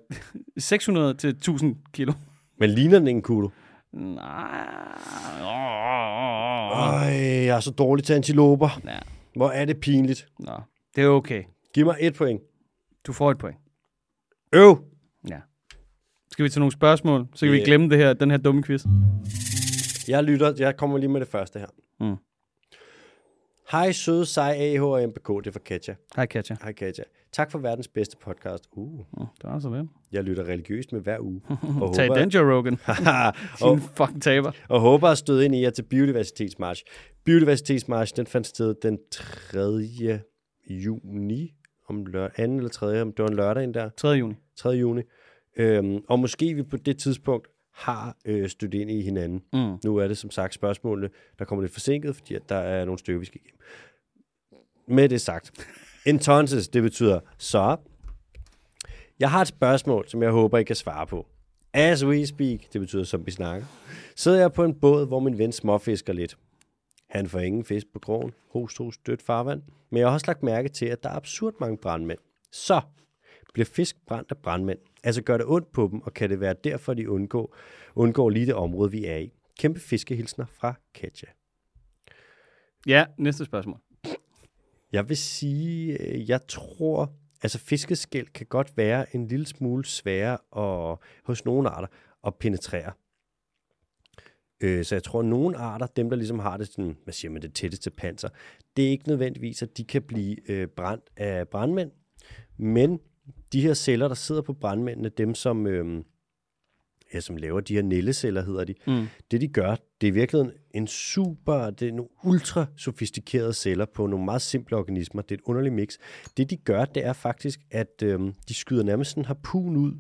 Speaker 2: 600 til 1000 kilo.
Speaker 1: Men ligner den en kudo?
Speaker 2: Nej.
Speaker 1: Ej, jeg er så dårlig til antiloper.
Speaker 2: Ja.
Speaker 1: Hvor er det pinligt.
Speaker 2: Nå, det er okay.
Speaker 1: Giv mig et point.
Speaker 2: Du får et point.
Speaker 1: Øv!
Speaker 2: Skal vi til nogle spørgsmål? Så kan vi
Speaker 1: Ja.
Speaker 2: glemme det her, den her dumme quiz.
Speaker 1: Jeg lytter, jeg kommer lige med det første her.
Speaker 2: Mm.
Speaker 1: Hej søde, sej AH og MBK, det er fra Katja.
Speaker 2: Hej, Katja.
Speaker 1: Hej Katja. Tak for verdens bedste podcast. Uh,
Speaker 2: Nå, Det var så lidt.
Speaker 1: jeg lytter religiøst med hver uge. Og
Speaker 2: Tag
Speaker 1: håber,
Speaker 2: den, Joe Rogan.
Speaker 1: og,
Speaker 2: Din fucking taber.
Speaker 1: og håber at støde ind i jer til Biodiversitetsmarch. Biodiversitetsmarch, den fandt sted den 3. juni, om lør, 2. eller 3. om det var en lørdag ind der.
Speaker 2: 3. juni.
Speaker 1: 3. juni. Øhm, og måske vi på det tidspunkt har øh, stødt ind i hinanden.
Speaker 2: Mm.
Speaker 1: Nu er det som sagt spørgsmålene, der kommer lidt forsinket, fordi at der er nogle stykker, vi skal igennem. Med det sagt. Entonces, det betyder så. Jeg har et spørgsmål, som jeg håber, I kan svare på. As we speak, det betyder som vi snakker, sidder jeg på en båd, hvor min ven småfisker lidt. Han får ingen fisk på krogen, host, host, dødt farvand, men jeg har også lagt mærke til, at der er absurd mange brandmænd. Så bliver fisk brændt af brandmænd. Altså gør det ondt på dem, og kan det være derfor, de undgår, undgår lige det område, vi er i. Kæmpe fiskehilsner fra Katja.
Speaker 2: Ja, næste spørgsmål.
Speaker 1: Jeg vil sige, øh, jeg tror, altså fiskeskæl kan godt være en lille smule sværere at, hos nogle arter at penetrere. Øh, så jeg tror, at nogle arter, dem der ligesom har det, sådan, hvad siger man, det tætteste panser, det er ikke nødvendigvis, at de kan blive øh, brændt af brandmænd, men de her celler, der sidder på brandmændene, dem som, øh, ja, som laver de her nælleceller, hedder de,
Speaker 2: Mm.
Speaker 1: det de gør, det er i virkeligheden en super, det er nogle ultra sofistikerede celler på nogle meget simple organismer. Det er et underligt mix. Det de gør, det er faktisk, at øhm, de skyder nærmest en harpun ud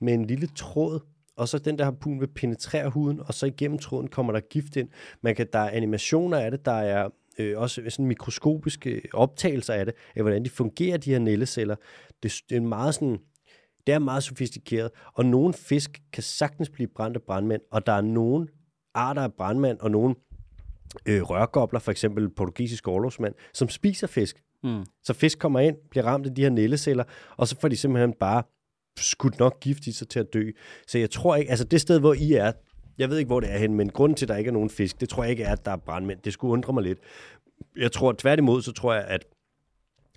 Speaker 1: med en lille tråd, og så den der harpun vil penetrere huden, og så igennem tråden kommer der gift ind. Man kan, der er animationer af det, der er øh, også sådan mikroskopiske optagelser af det, af hvordan de fungerer, de her nælleceller. Det, det er en meget sådan, det er meget sofistikeret, og nogle fisk kan sagtens blive brændt af brandmænd, og der er nogle arter af brandmænd og nogle øh, rørgobler, for eksempel portugisisk overlovsmand, som spiser fisk.
Speaker 2: Mm.
Speaker 1: Så fisk kommer ind, bliver ramt af de her nælleceller, og så får de simpelthen bare skudt nok gift i sig til at dø. Så jeg tror ikke, altså det sted, hvor I er, jeg ved ikke, hvor det er hen, men grunden til, at der ikke er nogen fisk, det tror jeg ikke er, at der er brandmænd. Det skulle undre mig lidt. Jeg tror tværtimod, så tror jeg, at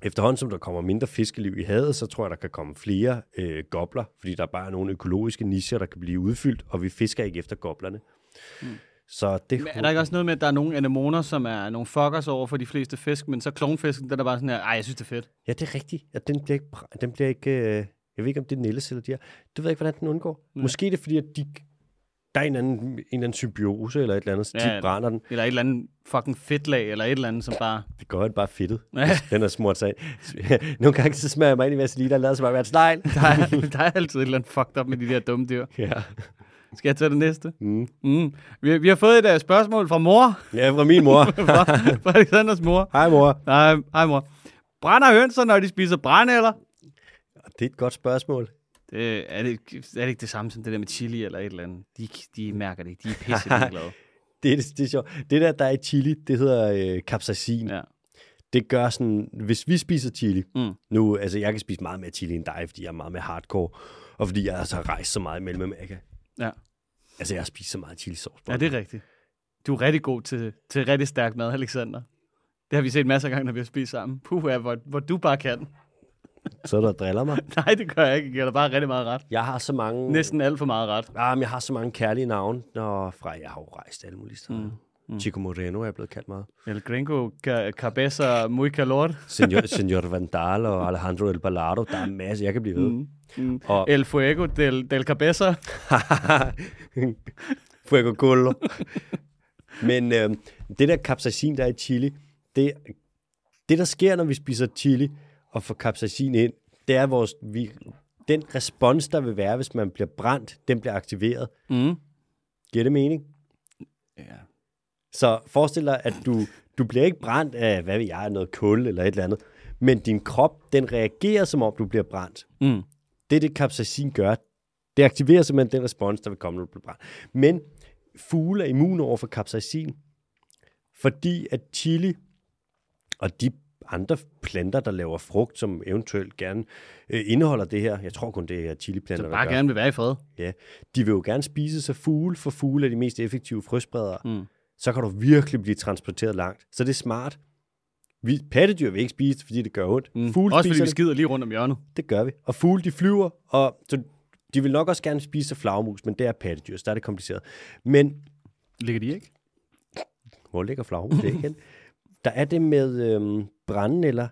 Speaker 1: efterhånden som der kommer mindre fiskeliv i havet, så tror jeg, der kan komme flere øh, gobler, fordi der bare er nogle økologiske nischer, der kan blive udfyldt, og vi fisker ikke efter goblerne. Mm. Så det
Speaker 2: Hmm. Men er der ikke også noget med, at der er nogle anemoner, som er nogle fuckers over for de fleste fisk, men så klonfisken, den er bare sådan her, ej, jeg synes, det er fedt.
Speaker 1: Ja, det er rigtigt. Ja, den bliver ikke... br- Den bliver ikke øh, jeg ved ikke, om det er Nelles eller de her. Det ved jeg ikke, hvordan den undgår. Ja. Måske er det, fordi at de, der er en anden, en eller anden symbiose eller et eller andet, så
Speaker 2: Ja,
Speaker 1: ja,
Speaker 2: ja.
Speaker 1: de brænder den.
Speaker 2: Eller et eller andet fucking fedtlag, eller et eller andet, som bare...
Speaker 1: Det gør, at det bare er fedtet. Altså, den er smurt sig ind. Nogle gange så smager jeg mig ind i vaseline, og lader sig bare være et snegl.
Speaker 2: Der er, der er altid et eller andet fucked up med de der dumme dyr.
Speaker 1: Ja.
Speaker 2: Skal jeg tage det næste?
Speaker 1: Mm.
Speaker 2: Mm. Vi, vi har fået et uh, spørgsmål fra mor,
Speaker 1: ja, fra min mor.
Speaker 2: fra, fra Alexanders mor.
Speaker 1: Hej mor.
Speaker 2: Nej, hej mor. Brænder hønser, når de spiser brændeller?
Speaker 1: Det er et godt spørgsmål.
Speaker 2: Det, er, det, er det ikke det samme som det der med chili eller et eller andet? De, de mærker det ikke. De er pisse glade.
Speaker 1: Det er, det er sjovt. Det der, der er i chili, det hedder øh, capsaicin.
Speaker 2: Ja.
Speaker 1: det gør sådan, hvis vi spiser chili,
Speaker 2: Mm.
Speaker 1: mm. nu, altså jeg kan spise meget mere chili end dig, fordi jeg er meget mere hardcore, og fordi jeg altså har rejst så meget i Mellemamerika.
Speaker 2: Ja.
Speaker 1: Altså jeg har spist så meget chili sauce.
Speaker 2: ja, det er rigtigt. Du er rigtig god til, til rigtig stærk mad, Alexander. Det har vi set masser af gange, når vi har spist sammen. Puh, ja, hvor, hvor du bare kan.
Speaker 1: Så du og driller mig.
Speaker 2: Nej, det gør jeg ikke. Jeg gør da bare rigtig meget ret.
Speaker 1: Jeg har så mange...
Speaker 2: Næsten alt for meget ret.
Speaker 1: Ah, men jeg har så mange kærlige navne, når fra jeg har jo rejst alle mulige steder. Mm. Mm. Chico Moreno er blevet kaldt meget.
Speaker 2: El gringo ca- cabeza muy calor.
Speaker 1: Senor, Senor Vandal og Alejandro El Balado. Der er masser, jeg kan blive ved. Mm.
Speaker 2: Mm.
Speaker 1: Og-
Speaker 2: El fuego del, del cabeza.
Speaker 1: Fuego Colo. Men øh, det der capsaicin, der er i chili, det, det der sker, når vi spiser chili og får capsaicin ind, det er vores, vi, den respons, der vil være, hvis man bliver brændt, den bliver aktiveret.
Speaker 2: Mm.
Speaker 1: Giver det mening?
Speaker 2: Ja.
Speaker 1: Så forestil dig, at du, du bliver ikke brændt af, hvad ved jeg, noget kul eller et eller andet, men din krop, den reagerer, som om du bliver brændt.
Speaker 2: Mm.
Speaker 1: Det, det capsaicin gør, det aktiverer simpelthen den respons, der vil komme, når du bliver brændt. Men fugle er immune over for capsaicin, fordi at chili og de andre planter, der laver frugt, som eventuelt gerne øh, indeholder det her, jeg tror kun, det er chiliplanter,
Speaker 2: Så
Speaker 1: der
Speaker 2: bare
Speaker 1: gør
Speaker 2: gerne vil være i fred.
Speaker 1: Ja, de vil jo gerne spise sig fugle, for fugle er de mest effektive frøspredere. Mm. Så kan du virkelig blive transporteret langt. Så det er smart. Vi, pattedyr vil ikke spise det, fordi det gør ondt. Mm. Fugle
Speaker 2: Også
Speaker 1: spiser
Speaker 2: fordi vi
Speaker 1: det,
Speaker 2: skider lige rundt om hjørnet.
Speaker 1: det gør vi. Og fugle, de flyver, og så de vil nok også gerne spise sig flagmus, men det er pattedyr, så der er det kompliceret. Men
Speaker 2: Ligger de ikke?
Speaker 1: hvor ligger flagmus Det er igen? Der er det med øhm, brændenælder,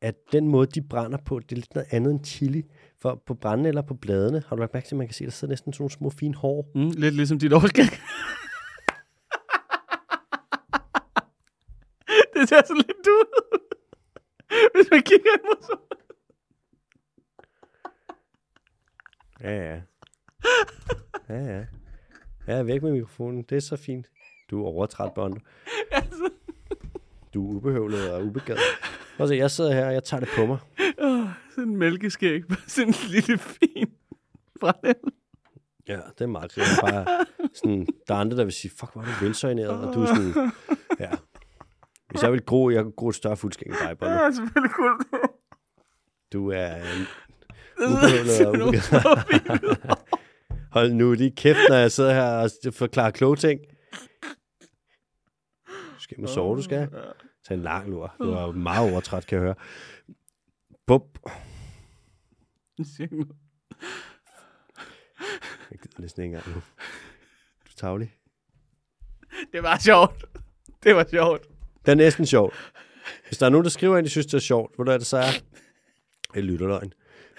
Speaker 1: at den måde, de brænder på, det er lidt noget andet end chili. For på brændenælder på bladene, har du lagt mærke til, at man kan se, der sidder næsten sådan nogle små fine hår.
Speaker 2: Mm. Lidt ligesom dit overskæg. det ser sådan lidt ud. Hvis man kigger imod så.
Speaker 1: Ja, ja. Ja, ja. Ja, væk med mikrofonen. Det er så fint. Du er overtræt, Bondo. Du er ubehøvlet og ubegavet. Prøv at se, jeg sidder her, og jeg tager det på mig.
Speaker 2: Oh, sådan en mælkeskæg. Bare sådan en lille fin brændenælde.
Speaker 1: Ja, det er meget klart. Bare sådan, der er andre, der vil sige, fuck, hvor er du velsøgneret, og du er sådan, ja. Hvis jeg ville gro, jeg kunne gro et større fuldskæg end dig, Bondo.
Speaker 2: Ja, selvfølgelig kunne det.
Speaker 1: Du er øh, en
Speaker 2: Det
Speaker 1: ubehøvlet
Speaker 2: ser
Speaker 1: og
Speaker 2: nogle
Speaker 1: ubegavet.
Speaker 2: små fine ud.
Speaker 1: Hold nu lige kæft, når jeg sidder her og forklarer kloge ting. Du skal hjem og sove, du skal. Tag en lang lur. Du er jo meget overtræt, kan jeg høre. Bup.
Speaker 2: Det siger ikke noget.
Speaker 1: Jeg gider næsten ikke engang nu. Du er tavlig.
Speaker 2: Det var sjovt. Det var sjovt.
Speaker 1: Det er næsten sjovt. Hvis der er nogen, der skriver ind, de synes, det er sjovt, hvor er det så er? Det er lytterløgn.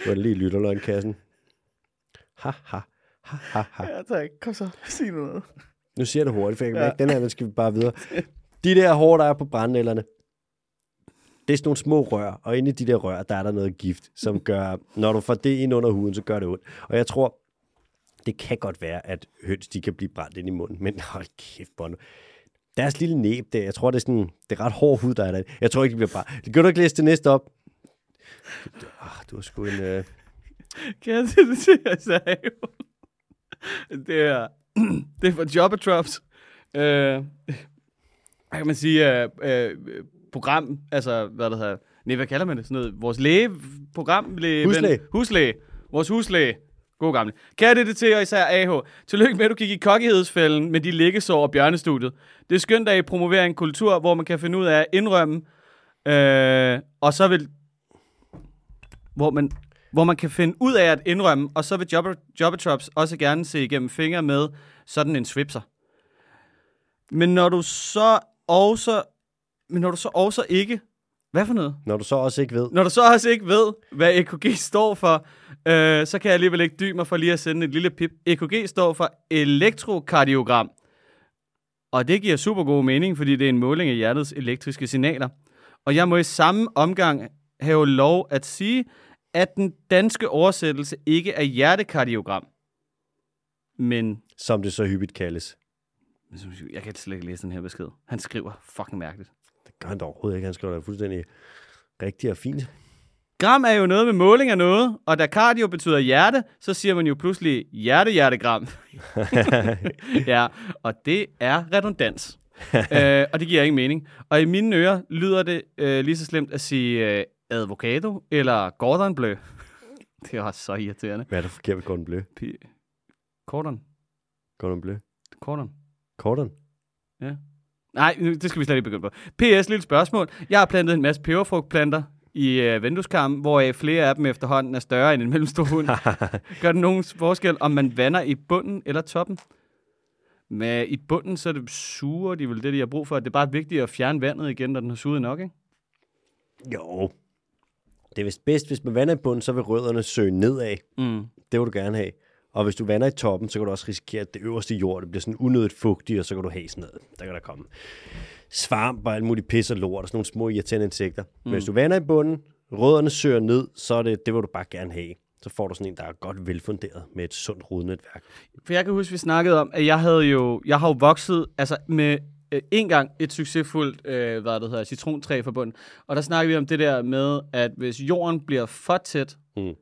Speaker 1: Hvor er det lige lytterløgnkassen? Ha, ha, ha, ha, ha.
Speaker 2: Ja, tak. Kom så. Sig nu noget.
Speaker 1: Nu siger jeg det hurtigt, for jeg kan ja. den her, den skal vi bare videre. De der hår, der er på brændenælderne, det er sådan nogle små rør, og inde i de der rør, der er der noget gift, som gør, når du får det ind under huden, så gør det ondt. Og jeg tror, det kan godt være, at høns, de kan blive brændt ind i munden, men hold kæft, Bono. Deres lille næb, det, jeg tror, det er sådan, det er ret hård hud, der er der. Jeg tror ikke, de bliver brændt. Kan du ikke læse det næste op? Ah, du har sgu en... Øh...
Speaker 2: Kan jeg se det til, jeg sagde? Det er, det er for Jobber Drops. Øh, hvad kan man sige? Øh, øh, program, altså, hvad det hedder? Nej, hvad kalder man det? Sådan noget, vores lægeprogram. Læge,
Speaker 1: Huslæge.
Speaker 2: huslæge. Vores huslæge. God gamle. Kære det til og især AH. Tillykke med, at du gik i kokkighedsfælden med de liggesår og bjørnestudiet. Det er skønt, at I promoverer en kultur, hvor man kan finde ud af at indrømme, øh, og så vil hvor man, hvor man kan finde ud af at indrømme, og så vil Jobber, Jobbetrops også gerne se igennem fingre med sådan en swipser. Men når du så også, men når du så også ikke, hvad for noget?
Speaker 1: Når du så også ikke ved,
Speaker 2: Når du så også ikke ved, hvad EKG står for, øh, så kan jeg alligevel ikke dy mig for lige at sende et lille pip. EKG står for elektrokardiogram. Og det giver super god mening, fordi det er en måling af hjertets elektriske signaler. Og jeg må i samme omgang have lov at sige, at den danske oversættelse ikke er hjertekardiogram. Men
Speaker 1: som det så hyppigt kaldes.
Speaker 2: jeg kan slet ikke læse den her besked. Han skriver fucking mærkeligt.
Speaker 1: Det gør han da overhovedet ikke. Han skriver da fuldstændig rigtigt og fint.
Speaker 2: Gram er jo noget med måling af noget, og da cardio betyder hjerte, så siger man jo pludselig hjerte-hjertegram. ja, og det er redundans. øh, og det giver ingen mening. Og i mine ører lyder det øh, lige så slemt at sige øh, avocado eller Gordon Bleu. det er også så irriterende.
Speaker 1: Hvad er det forkert ved Gordon Blø?
Speaker 2: P- Gordon.
Speaker 1: Gordon Blø?
Speaker 2: Gordon.
Speaker 1: Gordon?
Speaker 2: Nej, nu- det skal vi slet ikke begynde på. PS, lille spørgsmål. Jeg har plantet en masse peberfrugtplanter i øh, vindueskarmen, hvor flere af dem efterhånden er større end en mellemstor hund. Gør det nogen forskel, om man vander i bunden eller toppen? Men i bunden, så er det sure, de er vel det, de har brug for. Det er bare vigtigt at fjerne vandet igen, når den har suget nok, ikke?
Speaker 1: Jo. Det er vist bedst, hvis man vander i bunden, så vil rødderne søge nedad.
Speaker 2: Mm.
Speaker 1: Det vil du gerne have. Og hvis du vander i toppen, så kan du også risikere, at det øverste jord det bliver sådan unødigt fugtigt, og så kan du have sådan noget. Der kan der komme svamp og alt muligt pis og lort og sådan nogle små irriterende insekter. Mm. Men hvis du vander i bunden, rødderne søger ned, så er det, det vil du bare gerne have. Så får du sådan en, der er godt velfunderet med et sundt rodnetværk.
Speaker 2: For jeg kan huske, vi snakkede om, at jeg havde jo, jeg har jo vokset altså med øh, en gang et succesfuldt, øh, hvad det hedder, citrontræ forbundet. Og der snakkede vi om det der med, at hvis jorden bliver for tæt,
Speaker 1: Mm.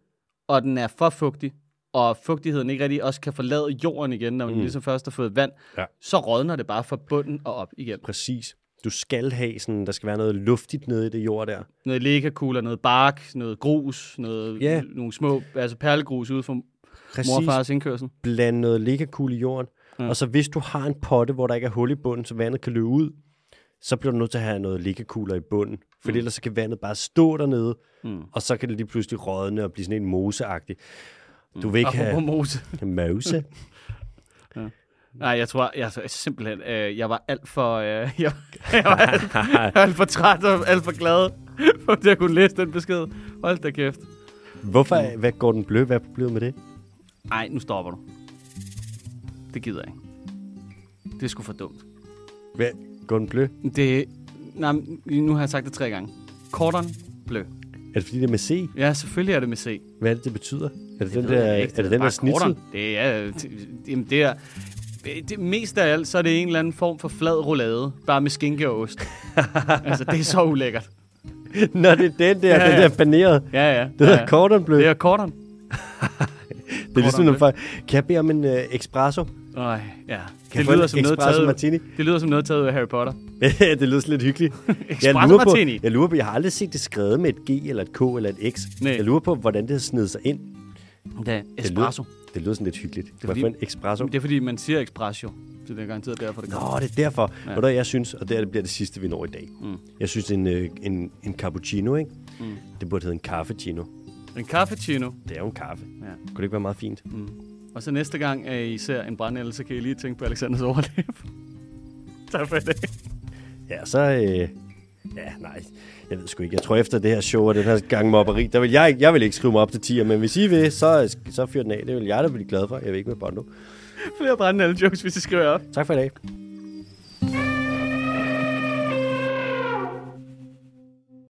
Speaker 2: og den er for fugtig, og fugtigheden ikke rigtig også kan forlade jorden igen, når man mm. ligesom først har fået vand,
Speaker 1: Ja.
Speaker 2: så rådner det bare fra bunden og op igen.
Speaker 1: Præcis. Du skal have sådan, der skal være noget luftigt nede i det jord der.
Speaker 2: Noget lægakugler, noget bark, noget grus, noget,
Speaker 1: Ja.
Speaker 2: nogle små altså perlegrus ude fra
Speaker 1: Præcis.
Speaker 2: morfars indkørsel.
Speaker 1: blande noget liggekugle i jorden. Mm. Og så hvis du har en potte, hvor der ikke er hul i bunden, så vandet kan løbe ud, så bliver du nødt til at have noget liggekugler i bunden. For mm. ellers så kan vandet bare stå dernede, mm. og så kan det lige pludselig rådne og blive sådan en moseagtig. Du vil ikke
Speaker 2: Mm. Apropos
Speaker 1: have
Speaker 2: mose.
Speaker 1: mose.
Speaker 2: Nej, jeg tror, jeg, jeg simpelthen, øh, jeg var alt for, øh, jeg, jeg var alt, alt for træt og alt for glad, for at jeg kunne læse den besked. Hold da kæft.
Speaker 1: Hvorfor hvad går den blø? Hvad er problemet med det?
Speaker 2: Nej, nu stopper du. Det gider jeg ikke. Det er sgu for dumt.
Speaker 1: Hvad går den blø?
Speaker 2: Det, nej, men nu har jeg sagt det tre gange. Cordon bleu.
Speaker 1: Er det fordi, det er med C?
Speaker 2: Ja, selvfølgelig er det med C.
Speaker 1: Hvad er det, det betyder? Er det, det den
Speaker 2: ved
Speaker 1: der,
Speaker 2: jeg ikke.
Speaker 1: er det den der
Speaker 2: bare
Speaker 1: snitsel?
Speaker 2: cordon. Det er, det, jamen det er, det, mest af alt, så er det en eller anden form for flad roulade, bare med skinke og ost. altså, det er så ulækkert.
Speaker 1: Nå, det er den der,
Speaker 2: Ja,
Speaker 1: den
Speaker 2: ja.
Speaker 1: der banerede.
Speaker 2: Ja, ja.
Speaker 1: Det
Speaker 2: ja,
Speaker 1: hedder
Speaker 2: ja.
Speaker 1: cordon bleu.
Speaker 2: Det
Speaker 1: Det
Speaker 2: er akkorderen.
Speaker 1: er ligesom,
Speaker 2: cordon
Speaker 1: når folk... Kan jeg bede om en uh, espresso?
Speaker 2: Nej, ja.
Speaker 1: Kan jeg
Speaker 2: Det
Speaker 1: få
Speaker 2: lyder,
Speaker 1: en
Speaker 2: som noget
Speaker 1: espresso
Speaker 2: taget,
Speaker 1: martini?
Speaker 2: det lyder som noget taget ud af Harry Potter.
Speaker 1: det lyder sådan lidt hyggeligt.
Speaker 2: Espresso
Speaker 1: lurer på,
Speaker 2: martini.
Speaker 1: jeg lurer på, jeg har aldrig set det skrevet med et G eller et K eller et X.
Speaker 2: Nej.
Speaker 1: Jeg lurer på, hvordan det har snedet sig ind.
Speaker 2: Ja,
Speaker 1: Det
Speaker 2: espresso.
Speaker 1: Lyder, det lyder sådan lidt hyggeligt. Det er
Speaker 2: fordi-
Speaker 1: fordi... en espresso.
Speaker 2: Det er fordi, man siger espresso. Så det er garanteret derfor, det kommer.
Speaker 1: Nå, det er derfor. Ja. Hvad der, jeg synes, og det, her, det bliver det sidste, vi når i dag. Mm. Jeg synes, en, øh, en, en cappuccino, ikke? Mm. det burde hedde en kaffecino.
Speaker 2: En cappuccino.
Speaker 1: Det er jo en kaffe.
Speaker 2: Ja.
Speaker 1: Kunne det ikke være meget fint? Mm.
Speaker 2: Og så næste gang, at I ser en brændel, så kan I lige tænke på Alexanders overleve. tak for det.
Speaker 1: Ja, så... Øh, ja, nej. Jeg ved sgu ikke. Jeg tror, efter det her show og den her gang mobberi, der vil jeg, ikke- jeg vil ikke skrive mig op til 10'er, men hvis I vil, så, så fyr den af. Det vil jeg da blive glad for. Jeg vil ikke med Bondo.
Speaker 2: Flere brændel jokes, hvis I skriver op.
Speaker 1: Tak for i dag.